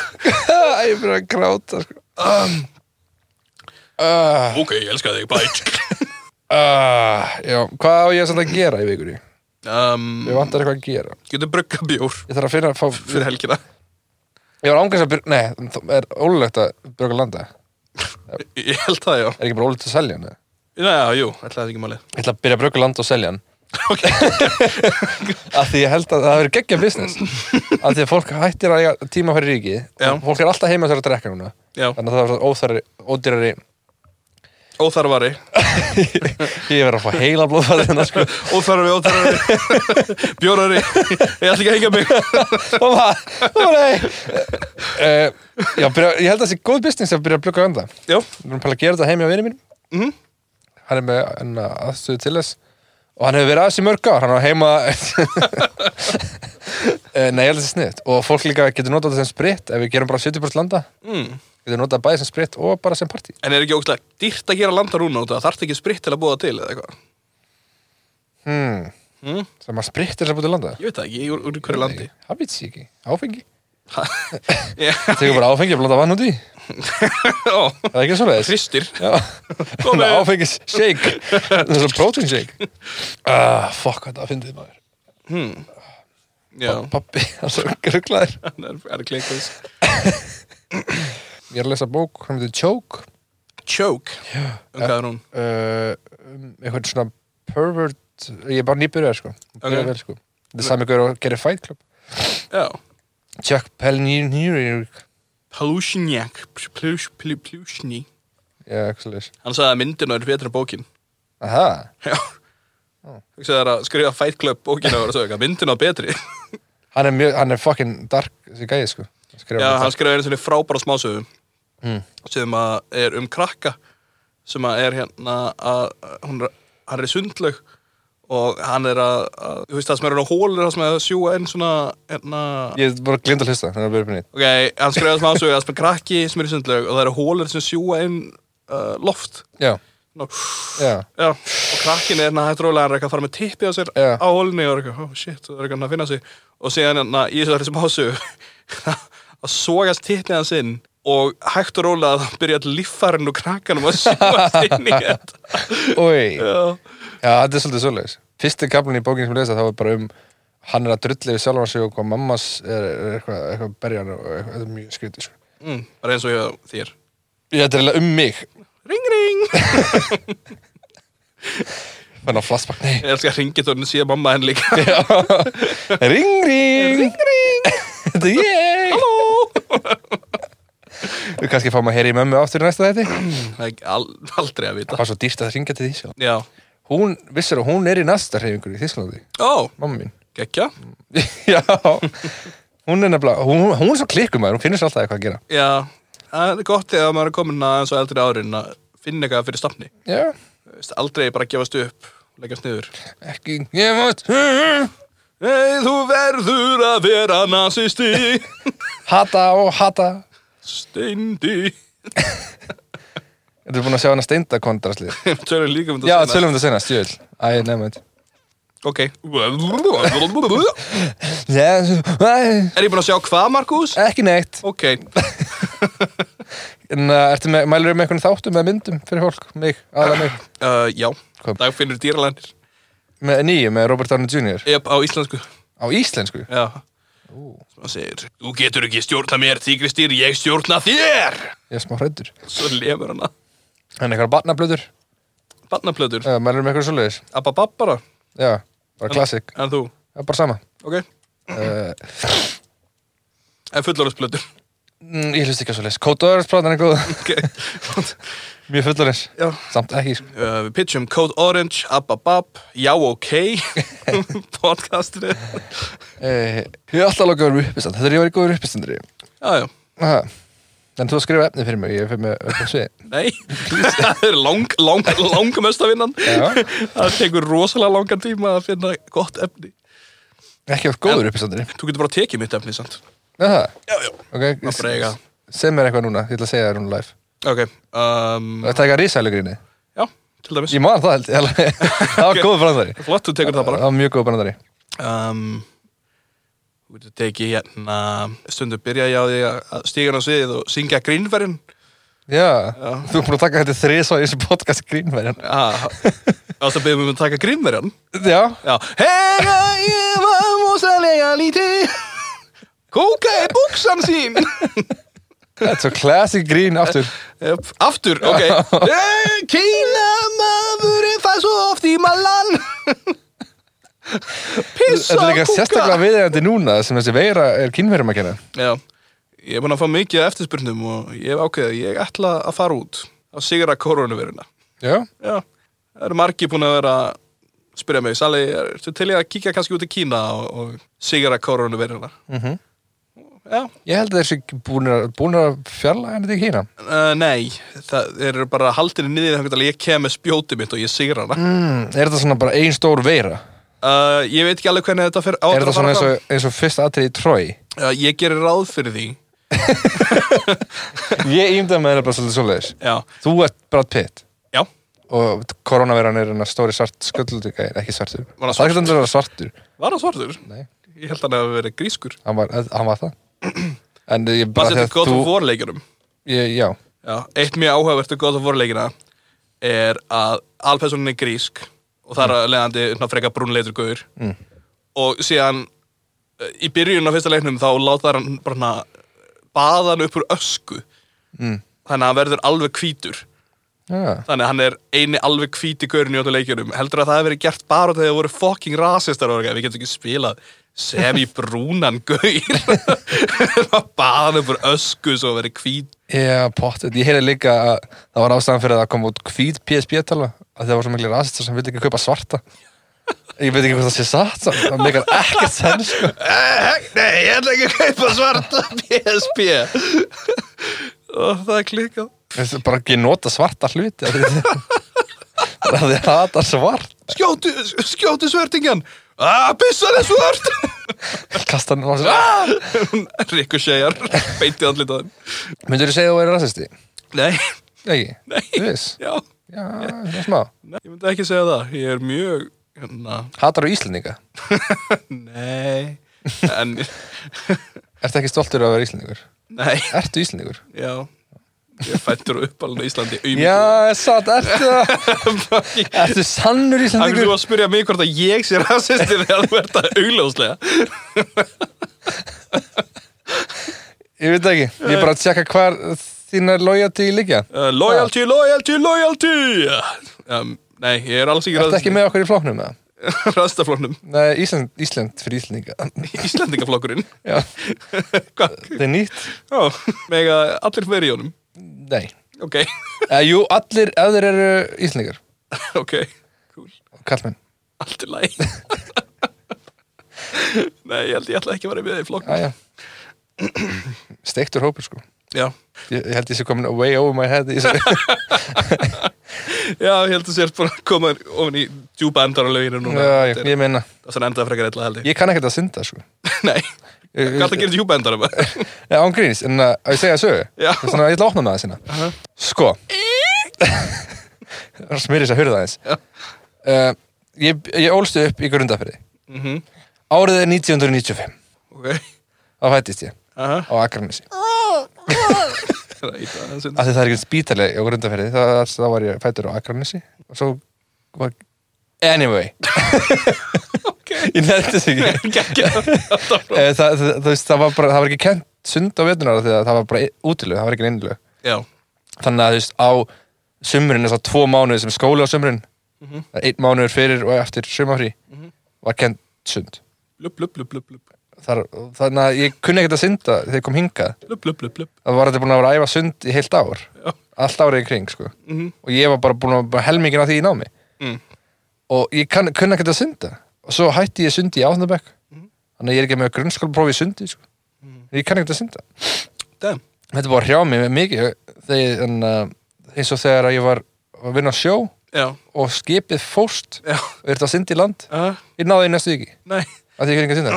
S1: <laughs> Æ, Ég fyrir að gráta sko. um,
S2: Ok, ég elska þig, bæt
S1: uh, uh, já, Hvað á ég samt að gera í vikunni?
S2: um,
S1: Ég vantar eitthvað að gera
S2: Getur brugga bjór
S1: Ég þarf að finna að fá
S2: fyrir helgina
S1: Ég var ángast að byrja, nei, það er ólulegt að byrja að landa
S2: Ég held það, já
S1: Er ekki bara ólulegt að selja hann? eða?
S2: Já, jú, ætlaði það <laughs> ekki málið
S1: Ég ætla að byrja að brugga land og selja hann
S2: Ok.
S1: Af því ég held að það verður geggja business Af því að fólk hættir að eiga tíma fyrir ríki
S2: Já.
S1: Fólk er alltaf heima sér að drekka núna
S2: Já,
S1: Þannig að það verður óþarri, ódýrari
S2: óþarfari
S1: Ég verður að fá heila blóðfæðina sko
S2: Óþarfi, óþarfi <laughs> Bjórari, ég ætla ekki að <laughs> hengja mig
S1: Mamma, mamma nei uh, Eh, Já, byrja, ég held að það sé góð business að byrja að brugga landa
S2: Já,
S1: Við erum að pæla að gera þetta heim hjá vinni mín
S2: Mhm.
S1: Hann er með enna, aðstöðu til þess Og hann hefur verið aðeins í mörg ár, hann á heima <laughs> Eh, Nei, ég held að það sé sniðt Og fólk líka getur notað þetta sem spritt Ef við gerum bara 70% landa
S2: mm.
S1: Getur notað bæði sem spritt og bara sem partí
S2: en er ekki ógstlega dýrt að gera landarúna út af það Þarfti ekki spritt til að búa til eða eitthvað
S1: hmm.
S2: Mm.
S1: Sem að spritt er þess að búið til landa
S2: Ég veit það ekki, ég úr, úr hverju landi
S1: Það veit ég ekki, áfengi
S2: <laughs> Já,
S1: Tekur bara áfengi og blanda vann út í
S2: ó,
S1: Það er ekki svo leiðis
S2: Kristir
S1: Já,
S2: Komið.
S1: <laughs> þannig áfengis shake Það er svo protein shake <laughs> ah, Fuck, hvað þetta að fyndið maður
S2: hmm. Já, <laughs>
S1: Pappi, hann er svo rugglaður
S2: hann er, er klinkus
S1: Ég er að lesa bók, hann heitir Choke
S2: Choke,
S1: Já.
S2: um hvað er hún?
S1: uh, um, Eitthvað svona pervert Ég er bara nýbyrjar sko, okay.
S2: Ok.
S1: vel, sko. Það er sami hver að gera Fight Club
S2: Já
S1: Chuck Palahniuk
S2: Plushnjak Plushni
S1: Já, ekki svo leiðis
S2: Hann sagði að myndin er betra en bókin
S1: Aha,
S2: Já Hugsaðu þér að skrifa Fight Club bókina og vera að sögja myndin á betri
S1: hann er, mjög, hann er fucking dark Þessi gæði sko Skrifa
S2: Já,
S1: þetta.
S2: hann skrifaði einu sinni frábæra smásögu
S1: Mm.
S2: sem að er um krakka sem að er hérna að, að hún er, hann er í sundlaug og hann er að, að þú veist það sem er að hólur það sem er að sjúa inn svona hérna
S1: Ég er bara glind að hlusta, þannig að byrja upp nýtt
S2: ok, hann skrifaði smásögu að sem er krakki sem er í sundlaug og það eru hólur sem sjúa inn uh, loft
S1: Já,
S2: Ná,
S1: já,
S2: Já, og krakkin er hérna hægt rólega hann er eitthvað að fara með tippi á sér
S1: Já.
S2: á hólunni og er eitthvað, oh shit, það er eitthvað að finna sig og síðan hérna í þessari smásögu <laughs> að sogast tippið hans inn og hægt og rólega að það byrja all líffarinn og krakkanum að <laughs> sjóast inn í þetta
S1: oi
S2: <laughs> Já,
S1: Já, þetta er svolítið svolítið. Fyrsti kaplun í bókinu sem ég lesa þá er bara um hann er að drulla við sjálfan sig og hvað mammas er, er eitthvað, eitthvað berjan og eitthvað, þetta er mjög skrítið sko.
S2: mm, bara eins og ég að þér
S1: Ég þetta er eiginlega um mig.
S2: Ring, ring
S1: Þannig að flashback, nei.
S2: Ég elskar ringitónu síðan mamma henn líka
S1: Já. <laughs> ring, ring. Ring, ring. þetta er ég.
S2: Halló
S1: Við kannski fáum að heyra í mömmu aftur í næsta þetta.
S2: Mm, Það er ekki al- aldrei að
S1: Það
S2: vita
S1: var svo dýrt að ringja til því sjálf.
S2: Já,
S1: Hún, vissir að hún er í næsta hreyfingur í Þísklandi.
S2: ó,
S1: Mamma mín. <laughs>
S2: gekkja
S1: Já. Hún er nefnilega, hún, hún er svo klikkumæður, hún finnur sér alltaf eitthvað að gera.
S2: Já, það er gott þegar maður er komin að eins og eldri árin að finna eitthvað fyrir stafni
S1: Já.
S2: veist, aldrei bara gefast upp og leggjast niður
S1: Ekki, ég mátt.
S2: Nei, þú verður að vera nazisti
S1: Hata og hata
S2: Steindi
S1: Þetta er búin að sjá hana steinda kontrastlið
S2: <laughs> Tölum líka um
S1: Já,
S2: þetta seinna.
S1: tölum þetta senast, jöl Æ, nefnum
S2: Ok Er
S1: þetta
S2: ég búinn að sjá hvað, Markus?
S1: Ekki neitt
S2: Ok,
S1: En uh, ertu með, mælur með einhvern þáttum með myndum fyrir fólk Mig, aðra mig
S2: uh, já
S1: Kom.
S2: Dag finnur dýralænir
S1: Með nýju, með Robert Downey Jr.
S2: Ep á íslensku
S1: Á íslensku
S2: Já Svo hann segir Þú getur ekki stjórna mér, tígristýr, ég stjórna þér
S1: Ég er smá hræddur
S2: Svo lefur hann að
S1: En eitthvað barnablöður
S2: Barnaplötur
S1: uh, Mælur með einhvern svoleiðis
S2: Abba babbara
S1: Já, bara klassik
S2: En þú,
S1: Já, bara sama
S2: ok
S1: uh,
S2: En fullorðsplötur
S1: Mm, ég hlust ekki að svo leys. Kóta Orange-platan er
S2: <laughs>
S1: góð.
S2: Ok.
S1: Mjög fullorins.
S2: Já.
S1: Samt ekki, sko.
S2: Uh, við pitchum Code Orange, Ababab, Já OK, <laughs> podcastinu.
S1: Eh, ég er alltaf að loka verið uppistand. Þetta er ég að vera góður uppistandri.
S2: Já, já.
S1: Aha. En þú skrifa efni fyrir mig, ég fyrir mig upp á svið.
S2: Nei, það er lang, lang, langmesta vinnan.
S1: Já.
S2: Það tekur rosalega langan tíma að finna gott efni.
S1: Ekki að vera góður uppistandri.
S2: Þú getur bara tekið mitt efni, sant?
S1: Aha.
S2: Já, já.
S1: Ok,
S2: Má bara eiga.
S1: sem er eitthvað núna, ég ætla að segja þér hún live.
S2: Ok, um,
S1: Það taka risælugrinni.
S2: já, til dæmis.
S1: Ég man það held, ég alveg. <laughs> það var góð brandari.
S2: Flott, þú tekur það
S1: Það
S2: bara.
S1: var mjög góð brandari.
S2: Um, þú getur tekið hérna, stundum byrja ég á því að- að stíga hann á sviðið og syngja grínverðin.
S1: Já, þú er búin að taka þetta þrisa í þessu podcast grínverjan.
S2: Ah, ást að byrja mig um að taka grínverðin.
S1: Já,
S2: Já, hega ég var mosalega lítið, kóka í buksan sín.
S1: þetta er svo classic grín aftur.
S2: Jöp, Aftur, ok Kína maðurinn fær svo oft í malan Pissa
S1: Þetta er líka sérstaklega viðeigandi núna sem þessi veira er kínverjum að kenna.
S2: Já, ég er búin að fá mikið af eftirspurnum og ég hef ákveðið að ég ætla að fara út að sigra koronaviruna
S1: Já,
S2: Já, það eru margir búin að vera að spyrja mig, Sali, ertu til ég að kíkja kannski út í Kína og, og sigra koronaviruna
S1: Mhm.
S2: Já,
S1: ég held að þessi búin að, búin að fjalla henni til kína.
S2: uh, nei, það eru bara haldinni niður þannig að ég kem með spjótið mitt og ég sigra hana
S1: Mm, er þetta svona bara ein stór veira?
S2: Uh, ég veit ekki alveg hvernig þetta fer á
S1: er þetta
S2: að fara
S1: svona eins og, eins og fyrst atrið í trói?
S2: fram. Uh, ég gerir ráð fyrir því
S1: <laughs> Ég ímda með þetta bara svolítið svoleiðis.
S2: já,
S1: Þú ert Brad Pitt
S2: já,
S1: og koronaviran er hennar stóri svart sköldlutika, ekki svartur.
S2: hann
S1: Það er ekki þannig að vera svartur.
S2: var hann svartur?
S1: Nei.
S2: ég held hann að hafa verið grískur
S1: Hann var, hann var það. <clears throat> En ég bara
S2: maður setur
S1: því
S2: gott á
S1: að þú...
S2: vorleikunum
S1: Ég, já,
S2: já, eitt mjög áhugavert og gott á vorleikina er að alpersonin er grísk og það er að leiðandi svona freka brúnleitur guður
S1: Mm.
S2: og síðan uh, í byrjun á fyrsta leiknum þá láta hann bara hana baða hann upp úr ösku
S1: Mm.
S2: þannig að hann verður alveg hvítur
S1: já.
S2: Þannig að hann er eini alveg hvíti gaurin í öllu leikjunum. Heldur að það hefur verið gert bara þegar það voru fucking rasistar og eitthvað. við getum ekki spilað semi-brúnan gaur. <laughs> Bara baða hann upp úr ösku svo að verið hvít.
S1: Já, pottet. Ég heyrði líka að það var ástæðan fyrir að það kom út hvít PSP-tala að það var svo mikli rasistar sem vildi ekki kaupa svarta. Ég veit ekki hvað það sé satt samt. Það meikar ekkert senn, sko.
S2: Eh, Nei, ég ætla ekki að kaupa svarta PSP. og það er klikkað.
S1: Veistu, Bara ekki nota svarta hluti. af því- Bara að þið hata svart.
S2: Skjótu, skjótu svertingan. Ah, pissan er svört.
S1: Kasta hann á sér. Ah!
S2: Ricochetjar, beinti andlit á þeim.
S1: Myndur þú segja að þú væri rasisti?
S2: Nei,
S1: Ekki?
S2: Nei.
S1: Þú veist?
S2: já,
S1: Já, svona smá.
S2: Nei, ég myndi ekki segja það. Ég er mjög, hérna,
S1: Hatar á Íslendinga?
S2: Nei En,
S1: Ertu ekki stoltur að vera Íslendingur?
S2: nei,
S1: Ertu Íslendingur?
S2: já Ég er fættur og uppalinn á Íslandi <laughs>
S1: Já, satt, ertu það?
S2: Það
S1: Ertu sannur
S2: er þú
S1: Íslendingur?
S2: að spyrja mig hvort að ég sé rasisti þegar þú ert að augljóslega
S1: Ég veit það ekki. Ég er bara að tjekka hvar þínar lojati liggja.
S2: uh,
S1: Ah.
S2: Loyalty, loyalty, loyalty um, Nei, ég er alls ekki
S1: Ertu ekki með okkur í flóknum með það?
S2: <laughs> rastaflóknum
S1: Nei, Ísland, Ísland fyrir Íslandinga. <laughs>
S2: Íslandingaflokkurinn
S1: Já,
S2: Hvað?
S1: það er nýtt.
S2: Já, mega allir fyrir í honum
S1: Nei.
S2: Ok, <laughs>
S1: Eh, jú, allir öður eru Íslandingar.
S2: ok, cool
S1: Kallmenn.
S2: Allt er læg <laughs> Nei, ég held ég ætla ekki að vera með í flokk
S1: Æja. Steiktur hópur, sko.
S2: Já,
S1: Ég, ég held ég sé komin way over my head. í þessu.
S2: Já, ég held að sér bara að koma ofin í djúpa endar á löginu núna.
S1: Já, ég,
S2: Þetta er-
S1: ég meina.
S2: Það sem endaði frekar eitthvað held ég.
S1: Ég kann ekkert að synda, sko.
S2: <laughs> Nei,
S1: Ég-
S2: galt að gera djúpa endar um það.
S1: <laughs> Nei, Eh, án gríns, en að að ég segja sögu.
S2: Já.
S1: Það er svona að ég ætla að opna með það sína. Sko. <laughs> Það smyrir þess að hurða aðeins.
S2: Já.
S1: Uh, ég, ég ólstu upp í grundafyrði.
S2: Mm -hmm.
S1: Árið er 1995.
S2: Ok,
S1: Þá fættist ég
S2: aha.
S1: á Akranesi.
S2: Það er eitthvað aðeins um undir.
S1: Af því það er ekki spítaleg á grundafyrði. Það, það var ég fættur á Akranesi. Og svo var... Anyway, <laughs>
S2: <laughs> Ok,
S1: ég nefndi þess ekki.
S2: <laughs> ekki <laughs> að
S1: Eh, það, það, það, það, var bara, það var ekki kent sund á vetunar því að það var bara útilög, það var ekki innlög.
S2: Já,
S1: þannig að þú veist á sumrun þess að tvo mánuði sem skóli á sumrun
S2: Mhm.
S1: einn mánuður fyrir og eftir sumafrí
S2: Mhm.
S1: var kent sund
S2: blup, blup, blup, blup, blup.
S1: þar, þannig að ég kunni ekkert að synda þegar ég kom hingað
S2: Blup, blup, blup, blup.
S1: það var þetta búin að vera að æfa sund í heilt ár
S2: Já.
S1: allt árið í kring sko.
S2: Mhm.
S1: og ég var bara búin að bara helmingin af því í námi
S2: Mm.
S1: og ég kann, kunni ekkert að synda og svo hætti ég sundi í áðnabæk
S2: Mhm.
S1: þannig að ég er ekki með grunnskólaprófi í sundi sko. ég kann ekkert að synda
S2: Damn.
S1: þetta er búið að hrjá mig mikið þegar, en, uh, eins og þegar að ég var að vinna á sjó
S2: Já,
S1: og skipið fóst
S2: já.
S1: og þetta að synda í land
S2: Uh,
S1: ég náði því næstu ekki,
S2: nei,
S1: af því ég kann ekki að synda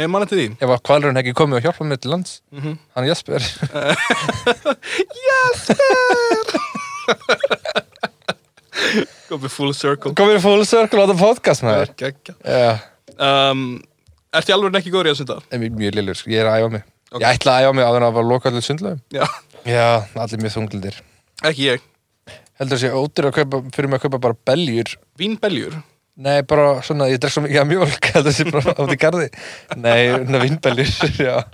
S2: ég manna til því.
S1: ef að kvalurinn hefði ekki komið og hjálpað mér til lands hann Jesper
S2: Komið full circle.
S1: komið full circle á þetta podcast maður
S2: Gekka.
S1: já,
S2: Um, ertu í alveg ekki góður í að synda?
S1: en mjög- mjög lillur, sko, ég er að æfa mig
S2: Ok.
S1: ég ætla að æfa mig á þannig að var loka allir sundlöfum
S2: Já.
S1: já, allir mjög þunglindir
S2: Ekki ég.
S1: heldur þessi ódýr að kaupa, fyrir mig að kaupa bara beljur
S2: Vínbeljur.
S1: nei, bara svona, ég drekst svo mikið að mjólk <laughs> heldur þessi bara átt í garði nei, svona vinnbeljur, <laughs> já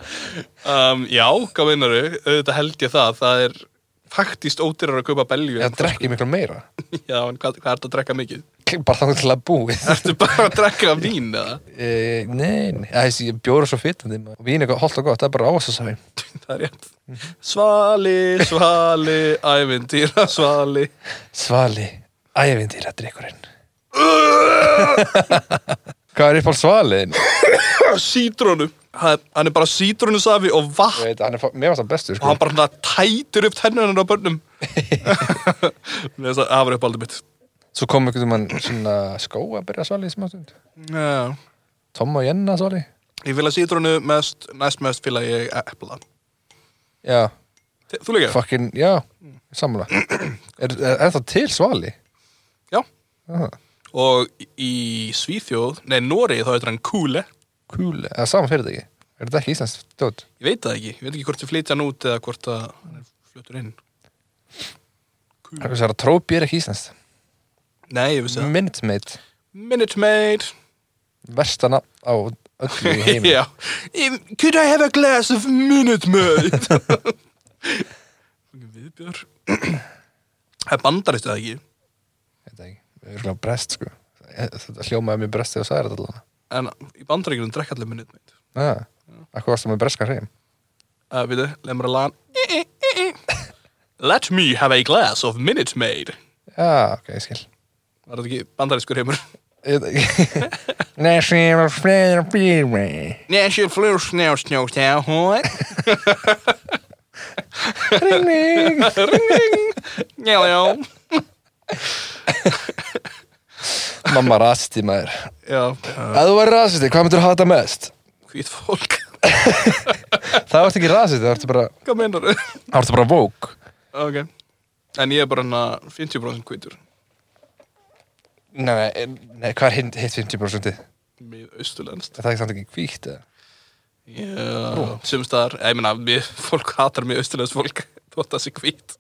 S2: Um, já, hvað meinaru? Auðvitað held ég það. Það er faktist ódýrar að kaupa beljur.
S1: ég drekki miklu meira
S2: <laughs> Já, en hvað, hvað ertu að drekka mikið?
S1: bara þannig til að búið
S2: Ertu bara að drekka vín eða?
S1: Eh, nei, nei, þessi bjóra svo fitandi maður. og vín er holdt og gott, það er bara áhersasafi
S2: <laughs> Það er rétt. Svali, svali, ævintýra, svali. <laughs>
S1: Svali, ævindýra drikkurinn Hvað er upp á svalin?
S2: Sítrónu. Hann hann er bara sítrónusafi og vatn.
S1: Veit, hann er, fá- mér varst það bestur
S2: og
S1: sko.
S2: hann bara svona tætir upp tennunar á börnum <laughs> Mér finnst það það var uppáldið mitt
S1: Svo kom einhvern mann svona skó að byrja svali í smá stund
S2: Já.
S1: Tom og Jenna svali
S2: ég fylg að sítrónu mest næst mest fylg að ég epla
S1: Já,
S2: þú líka?
S1: fucking, já, samla er, er, er það til svali?
S2: já
S1: Já,
S2: og í Svíþjóð, nei Nóri þá heitir hann Kúle
S1: Kúl, eða saman fyrir þetta ekki Er þetta ekki íslensk stótt?
S2: ég veit það ekki, ég veit ekki hvort þið flytja hann út eða hvort að hann er fluttur inn Kúle
S1: Það er að trópi er ekki íslensk
S2: nei, ég vissi það
S1: Minute Maid,
S2: Minute Maid
S1: versta nafn á öllu
S2: <laughs>
S1: í heimi
S2: Já. Em, Could I have a glass of Minute Maid? Viðbjör. Það er bandarist eða ekki.
S1: Þetta ekki, við erum brest sko Þetta hljómaði mér brest þegar þú sagði þetta allan
S2: En í bandaríkjunum drekka allir Minute Maid.
S1: Já, akkur varstu með breska hreim
S2: Uh, við þau, leið mér að Eh, lagan. Let me have a glass of Minute Maid.
S1: Já, ok, ég skil
S2: Var þetta ekki bandarískur heimur?
S1: <laughs> National Flair Bílmi
S2: Nation flew snow snow snow hoi.
S1: Ringling <laughs>
S2: Já, já.
S1: Mamma rasti maður
S2: Já, uh,
S1: Ef þú væri rasisti, hvað myndir þú hata mest?
S2: hvít fólk.
S1: Það ertu ekki rasisti, það ertu bara
S2: Hvað meinar þau?
S1: Það ertu bara vók
S2: ok. En ég er bara hana 50% hvítur.
S1: Nei, nei, nei, hvað er hitt hitt 50%? Er
S2: Mið austurlenskt.
S1: það ekki samt ekki hvítt? eða?
S2: Já, sumst þar, ég meina, mér, fólk hatar mjög austurlæðs fólk, <laughs> þótt það sé hvít.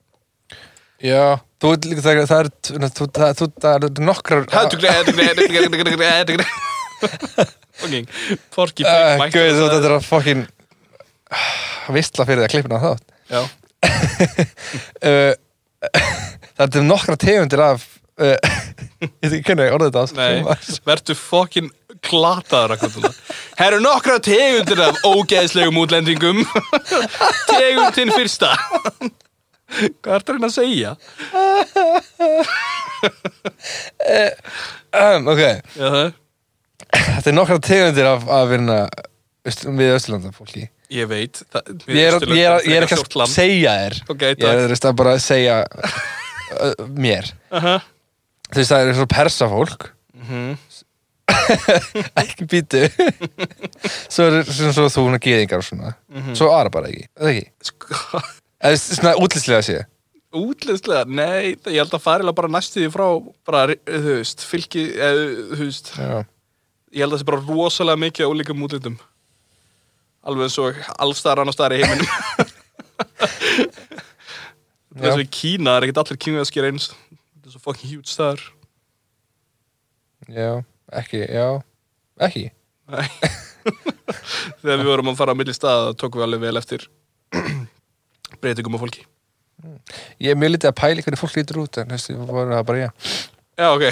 S1: Já Þú ert líka, það er, það er, þú, það er, þú, það er nokkrar
S2: Hættu greið, hættu greið, hættu greið, hættu greið, hættu greið.
S1: <laughs>
S2: Fucking, porki,
S1: Uh, Gauð, þú þetta er að fokkin Vistla fyrir því að klippina þátt
S2: Já, Eh,
S1: uh, <laughs> Það er nokkra tegundir af uh, <laughs> Ég veit ekki hvernig ég orðið þetta á
S2: <laughs> nei, verður fucking glataður akkur til það. Herru nokkra tegundir af ógeðslegum útlendingum. <laughs> Tegundin fyrsta. <laughs> Hvað ertu að reyna að segja?
S1: um, Ok,
S2: Já, það-
S1: þetta er nokkra tegundir af, af virna, öst, við Östurlanda fólki Ég
S2: ég veit. það-
S1: er, ég er, ég er ekki
S2: frekar stórt land.
S1: að segja þér
S2: Ok,
S1: Ég er þú veist, að bara segja uh, mér
S2: Aha.
S1: Þú veist, það er svo persafólk
S2: Mhm.
S1: <laughs> Ekki býtu
S2: <laughs>
S1: Svo er svona svo þú hún að geðingar og svona
S2: Mhm.
S1: Svo aðra bara ekki, eða ekki
S2: Sko,
S1: Eða þú veist, svona útlýslega sé
S2: Útlenslega, nei, það- ég held að farilega bara næstuði frá, bara, eh, þú veist, fylki, eða, þú veist,
S1: Já,
S2: ég held að það sé bara rosalega mikið á líkum útlendum. Alveg eins og allstar annar staðar í heiminum. Það er svo í Kína, það er ekkert allir kínuðaskir eins. Þetta er svo fucking huge staðar.
S1: já, ekki, já Ekki
S2: Nei. Þegar við vorum að fara á milli staða, það tókum við alveg vel eftir <clears throat> breytingum á fólki.
S1: Ég er mjög lítið að pæli hvernig fólk lítur út en þessi var það bara ég
S2: Já, ok.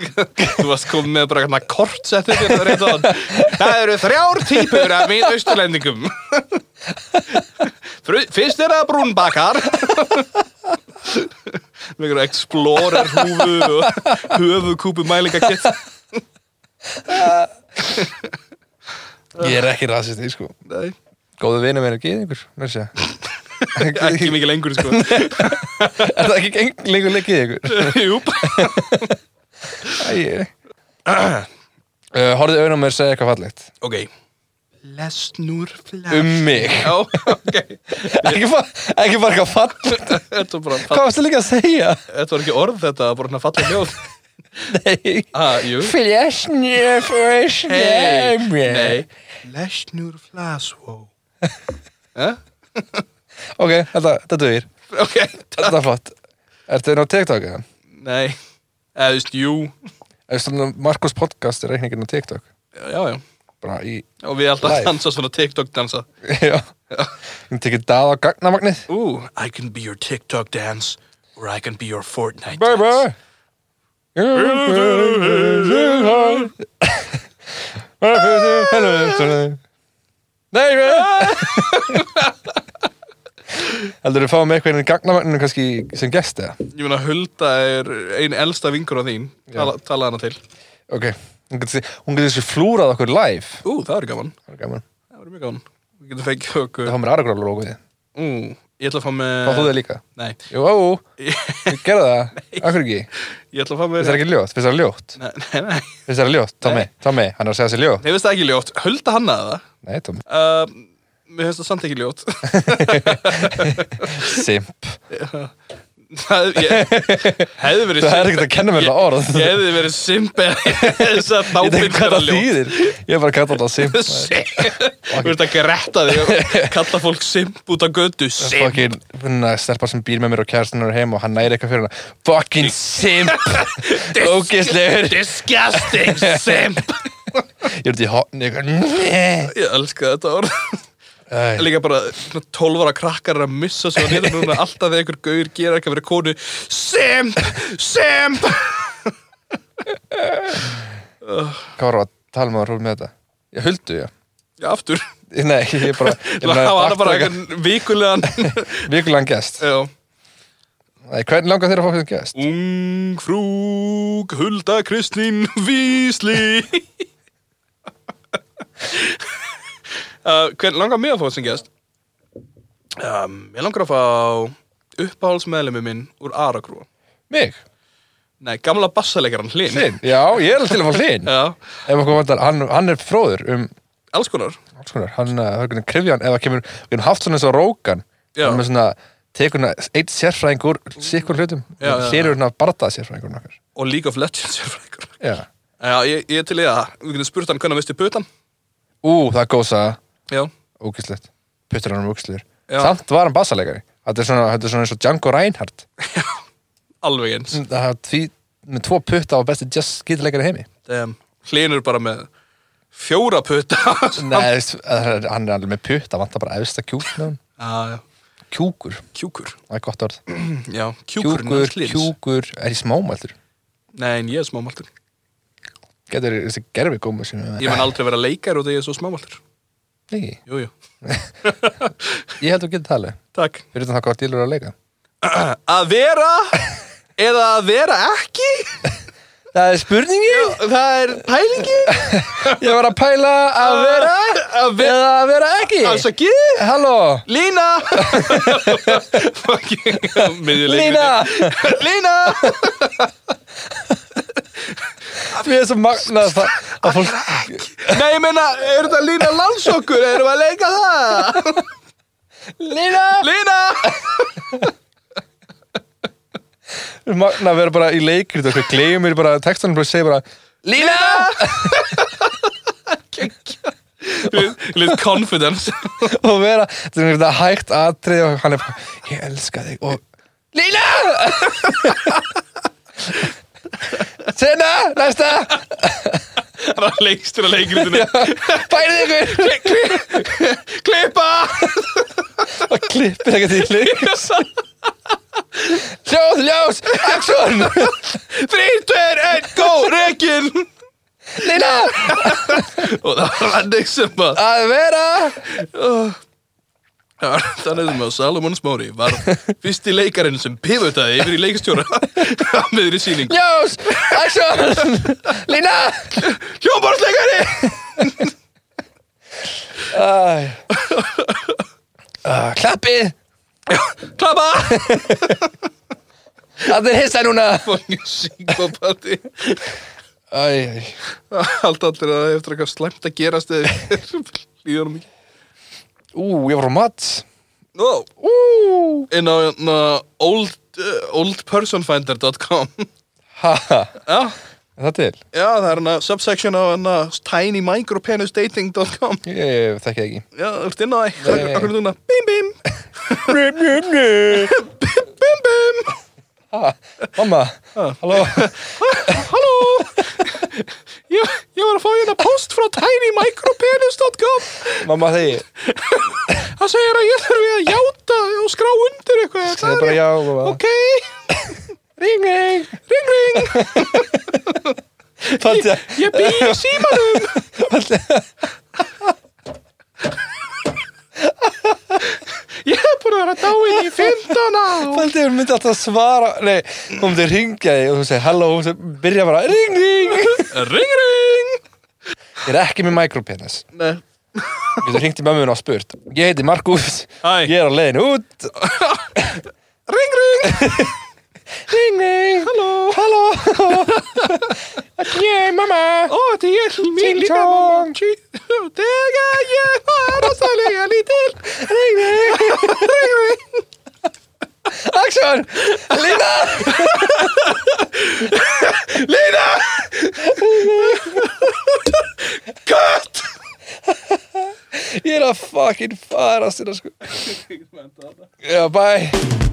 S2: <laughs> Þú varst komið með bara hérna kortsettið hérna rétt á hann. Það eru þrjár típur af mín austurlendingum. Fru- Fyrst er það brúnbakar. Með einhverju explorer húfu og höfukúpu mælingakitt.
S1: Ég er ekki rasist, sko.
S2: Nei,
S1: Góðu vinur minn er gýðingur, mér <laughs> sé.
S2: ekki mikið lengur sko.
S1: <laughs>
S2: <laughs>
S1: Er það ekki geng- lengur leikið ykkur?
S2: Júp.
S1: Æ, uh, horfðu auðvitað mér segja eitthvað fallegt.
S2: Ok. Lesnur flash.
S1: Um mig.
S2: Já, ok.
S1: Ekki bara, ekki bara eitthvað fallegt.
S2: Þetta var bara
S1: Hvað varstu líka að segja?
S2: Þetta var ekki orð þetta, það var bara hérna fallið ljóð.
S1: Nei.
S2: Ah, jú.
S1: Flesnir
S2: Hey,
S1: fyrir
S2: Nei. Lesnur flasvó. <laughs> Eh?
S1: Ok, þetta, þetta dugir.
S2: Ok,
S1: Þetta er flott. Ertu inn á TikTok eða?
S2: nei. Eða, þú veist, jú.
S1: Er svona Markus podcast er reikningin á TikTok?
S2: Já, já.
S1: Bara í, <laughs>
S2: Og við alltaf
S1: Live.
S2: dansa svona TikTok dansa.
S1: já. Ég tekið dað á gagnamagnið.
S2: Ú, I can be your TikTok dance or I can be your Fortnite
S1: Baby!
S2: dance.
S1: <laughs> Nei, baby! Heldur þú fáum eitthvað inn í gagnamagninu kannski sem gest eða?
S2: Ég meina, Hulda er ein elsta vingur á þín. Tala, tala hana til.
S1: Ok, hún getur hún getur þessi flúrað okkur live.
S2: Ú, það er gaman.
S1: Það er gaman.
S2: Það er mjög gaman. Við getum fengið
S1: Það
S2: okkur.
S1: fá mér aðra grála lókuði.
S2: Ú, ég ætla að fá með...
S1: Fá þú þig líka?
S2: Nei.
S1: Jú, á,
S2: <laughs>
S1: ég gerði það. Akkur ekki.
S2: Ég ætla að fá með...
S1: Finnst það ekki ljótt? Finnst það ljótt?
S2: Nei, nei, nei.
S1: Finnst það ljótt? Tommy, Tommy, hann er að segja sér ljótt.
S2: Nei, veist það ekki ljótt. Hulda hannaði það.
S1: Nei, Tommy.
S2: Uh, mér finnst það samt ekki ljótt.
S1: Simp.
S2: það,
S1: <laughs>
S2: ég, hefði verið
S1: Það er ekkert að kenna mér þetta orð.
S2: Ég hefði verið
S1: <laughs>
S2: simp <laughs> eða þess
S1: Ég
S2: að
S1: veit
S2: náminn
S1: ekki hvað það
S2: <laughs>
S1: þýðir. Ég er bara að kalla þetta simp.
S2: Þú ert að gretta því að kalla fólk simp út á götu Simp
S1: Fokkin, hérna, stelpa sem býr með mér og kærastinn er heim og hann næri eitthvað fyrir hana. Fokkin simp. Ógislegur.
S2: Disgusting
S1: <laughs>
S2: simp
S1: Ég er út í hotni eitthvað. Nei.
S2: Ég elska þetta orð
S1: Æ.
S2: <laughs> Líka bara svona 12 ára krakkar eru að missa svo hérna núna alltaf þegar einhver gauður gera eitthvað fyrir konu Simp, simp
S1: Hvað var að tala maður hún með þetta? Ég huldu, já.
S2: Já, aftur
S1: Nei, ég
S2: <laughs>
S1: bara... ég
S2: Það var
S1: aftur-
S2: bara eitthvað vikulegan <laughs>
S1: Vikulegan gest.
S2: Já
S1: Nei, hvernig langar þér að fá fyrir gest?
S2: Ung frúk Hulda Kristín Vísli uh, Hvern langar mig að fá sem gest? Um, ég langar að fá uppáhaldsmeðlemi minn úr Aragrúa
S1: Mig?
S2: Nei, gamla bassaleikaran Hlyn
S1: Hlinn? Já, ég er alveg til að fá hlinn.
S2: Já,
S1: Ef okkur vantar, hann, hann er fróður um,
S2: alls konar
S1: alls konar, hann, uh, það er hvernig krifjan, ef það kemur, við erum haft svona eins og rókan,
S2: Já.
S1: hann er með svona, tekur hann eitt sérfræðing úr sikkur hlutum,
S2: Já, já,
S1: hér er hann að barða sérfræðingur nokkar.
S2: Og League of Legends er frá ykkur
S1: Já.
S2: Já, ég, ég er til í það Við getum spurt hann hvernig hann veistu putan
S1: Ú, það er gósa,
S2: Já,
S1: ógislegt, puttur hann um ógislur.
S2: Já.
S1: Samt var hann bassalegari, þetta er svona, þetta er svona eins og Django Reinhardt,
S2: alveg eins
S1: það er því, með tvo putta á besti jazz skýtleikari heimi.
S2: Damn. Hlyn er bara með fjóra puta
S1: Nei, þú veist, hann er- hann er alveg með putta, vantar bara efsta kjúknum.
S2: Já, já.
S1: Kjúkur,
S2: Kjúkur
S1: það er gott orð.
S2: Já, kjúkurinn
S1: Kjúkur,
S2: hans Hlyns.
S1: kjúkur, er í smámæltur.
S2: Nei, en ég er smámaltur
S1: Getur þessi gerfi góma sem
S2: Ég mun aldrei vera leikar og það ég er svo smámaltur
S1: Nei,
S2: Jú, jú,
S1: ég held að geta talið
S2: takk
S1: Fyrir utan það hvað dílur er að leika
S2: Að vera eða að vera ekki
S1: Það er spurningi
S2: Það er pælingi
S1: Ég var að pæla að vera
S2: Að vera
S1: Eða að vera ekki
S2: Afsaki
S1: Halló
S2: Lína Fucking miðjuleikurinn.
S1: Lína
S2: Lína
S1: <laughs> Mér er svo magnað það að fólk
S2: Nei, ég meina, er þetta Lína landsokkur? Erum við að leika það?
S1: Lína
S2: Lína
S1: Magnað að vera bara í leikrið og hvað gleymir bara textanum og segja bara Lína
S2: Litt confidence
S1: og vera þetta er þetta hægt atrið og hann er bara ég elska þig og Lína Senna, næsta
S2: Það er leikstur að leikritinu
S1: Bærið ykkur
S2: Klippa <laughs>
S1: og klippir ekkert í leik
S2: Hvað
S1: Sjóð, ljós, action
S2: Þrýr, tveir, einn, go, rekin
S1: Lína,
S2: Og það var þannig sem að
S1: að vera
S2: Ah. Það var Þannig sem að Salomon Smári var fyrsti leikarinn sem pivotaði yfir í leikstjóra <laughs> meður í síning
S1: Ljós, action Lína
S2: Hjómborðsleikari!
S1: Æ. Ah, Klappið
S2: Klappa!
S1: Það er hissa núna
S2: Fóngin síkopati
S1: Æ, æ.
S2: Allt allir að það eftir eitthvað slæmt að gerast eða líður honum ekki
S1: Ú, ég var á mat
S2: Nó,
S1: Ú
S2: inn á na, old, uh, oldpersonfinder.com
S1: Ha, ha,
S2: Já,
S1: er það til?
S2: já, það er hana subsection á hérna hana tinymicropenisdating.com
S1: Ég, ég þekki það ekki
S2: Já, þú ert inn á það,
S1: Nei.
S2: akkur núna Bim bim,
S1: Bim,
S2: bim bim
S1: Ha, mamma,
S2: Ah.
S1: halló
S2: Halló <laughs> ég, ég var að fá hérna post frá tinymicropenis.com
S1: Mamma þegi
S2: Það segir að ég þurfi að játa og skrá undir eitthvað
S1: Það er bara já, mamma
S2: Ok,
S1: Ring, ring
S2: ring ring
S1: Fannst ég
S2: Ég bý í
S1: <laughs>
S2: símanum Ég hef búin að vera dáin í 15 á
S1: Fældi hún myndi alltaf svara Nei, hún myndi ringja þig og þú segir halló og hún segir, byrja bara ring, ring
S2: Ring ring
S1: Ég er ekki með micropenis
S2: Nei
S1: Ég þú ringti mömmun og spurt Ég heiti Markus,
S2: Hæ.
S1: ég er á leiðin út
S2: Ring ring
S1: Ring, ring Halló Halló
S2: <laughs>
S1: Þetta er ég, mamma
S2: Ó, þetta er ég Mín
S1: Ting
S2: líka
S1: tong.
S2: mamma <laughs> Þegar ég var að sælega lítil
S1: Ring, ring
S2: Ring ring
S1: Action Lína
S2: Lína Gött
S1: Ég er að fucking fara sinna sko Já, bye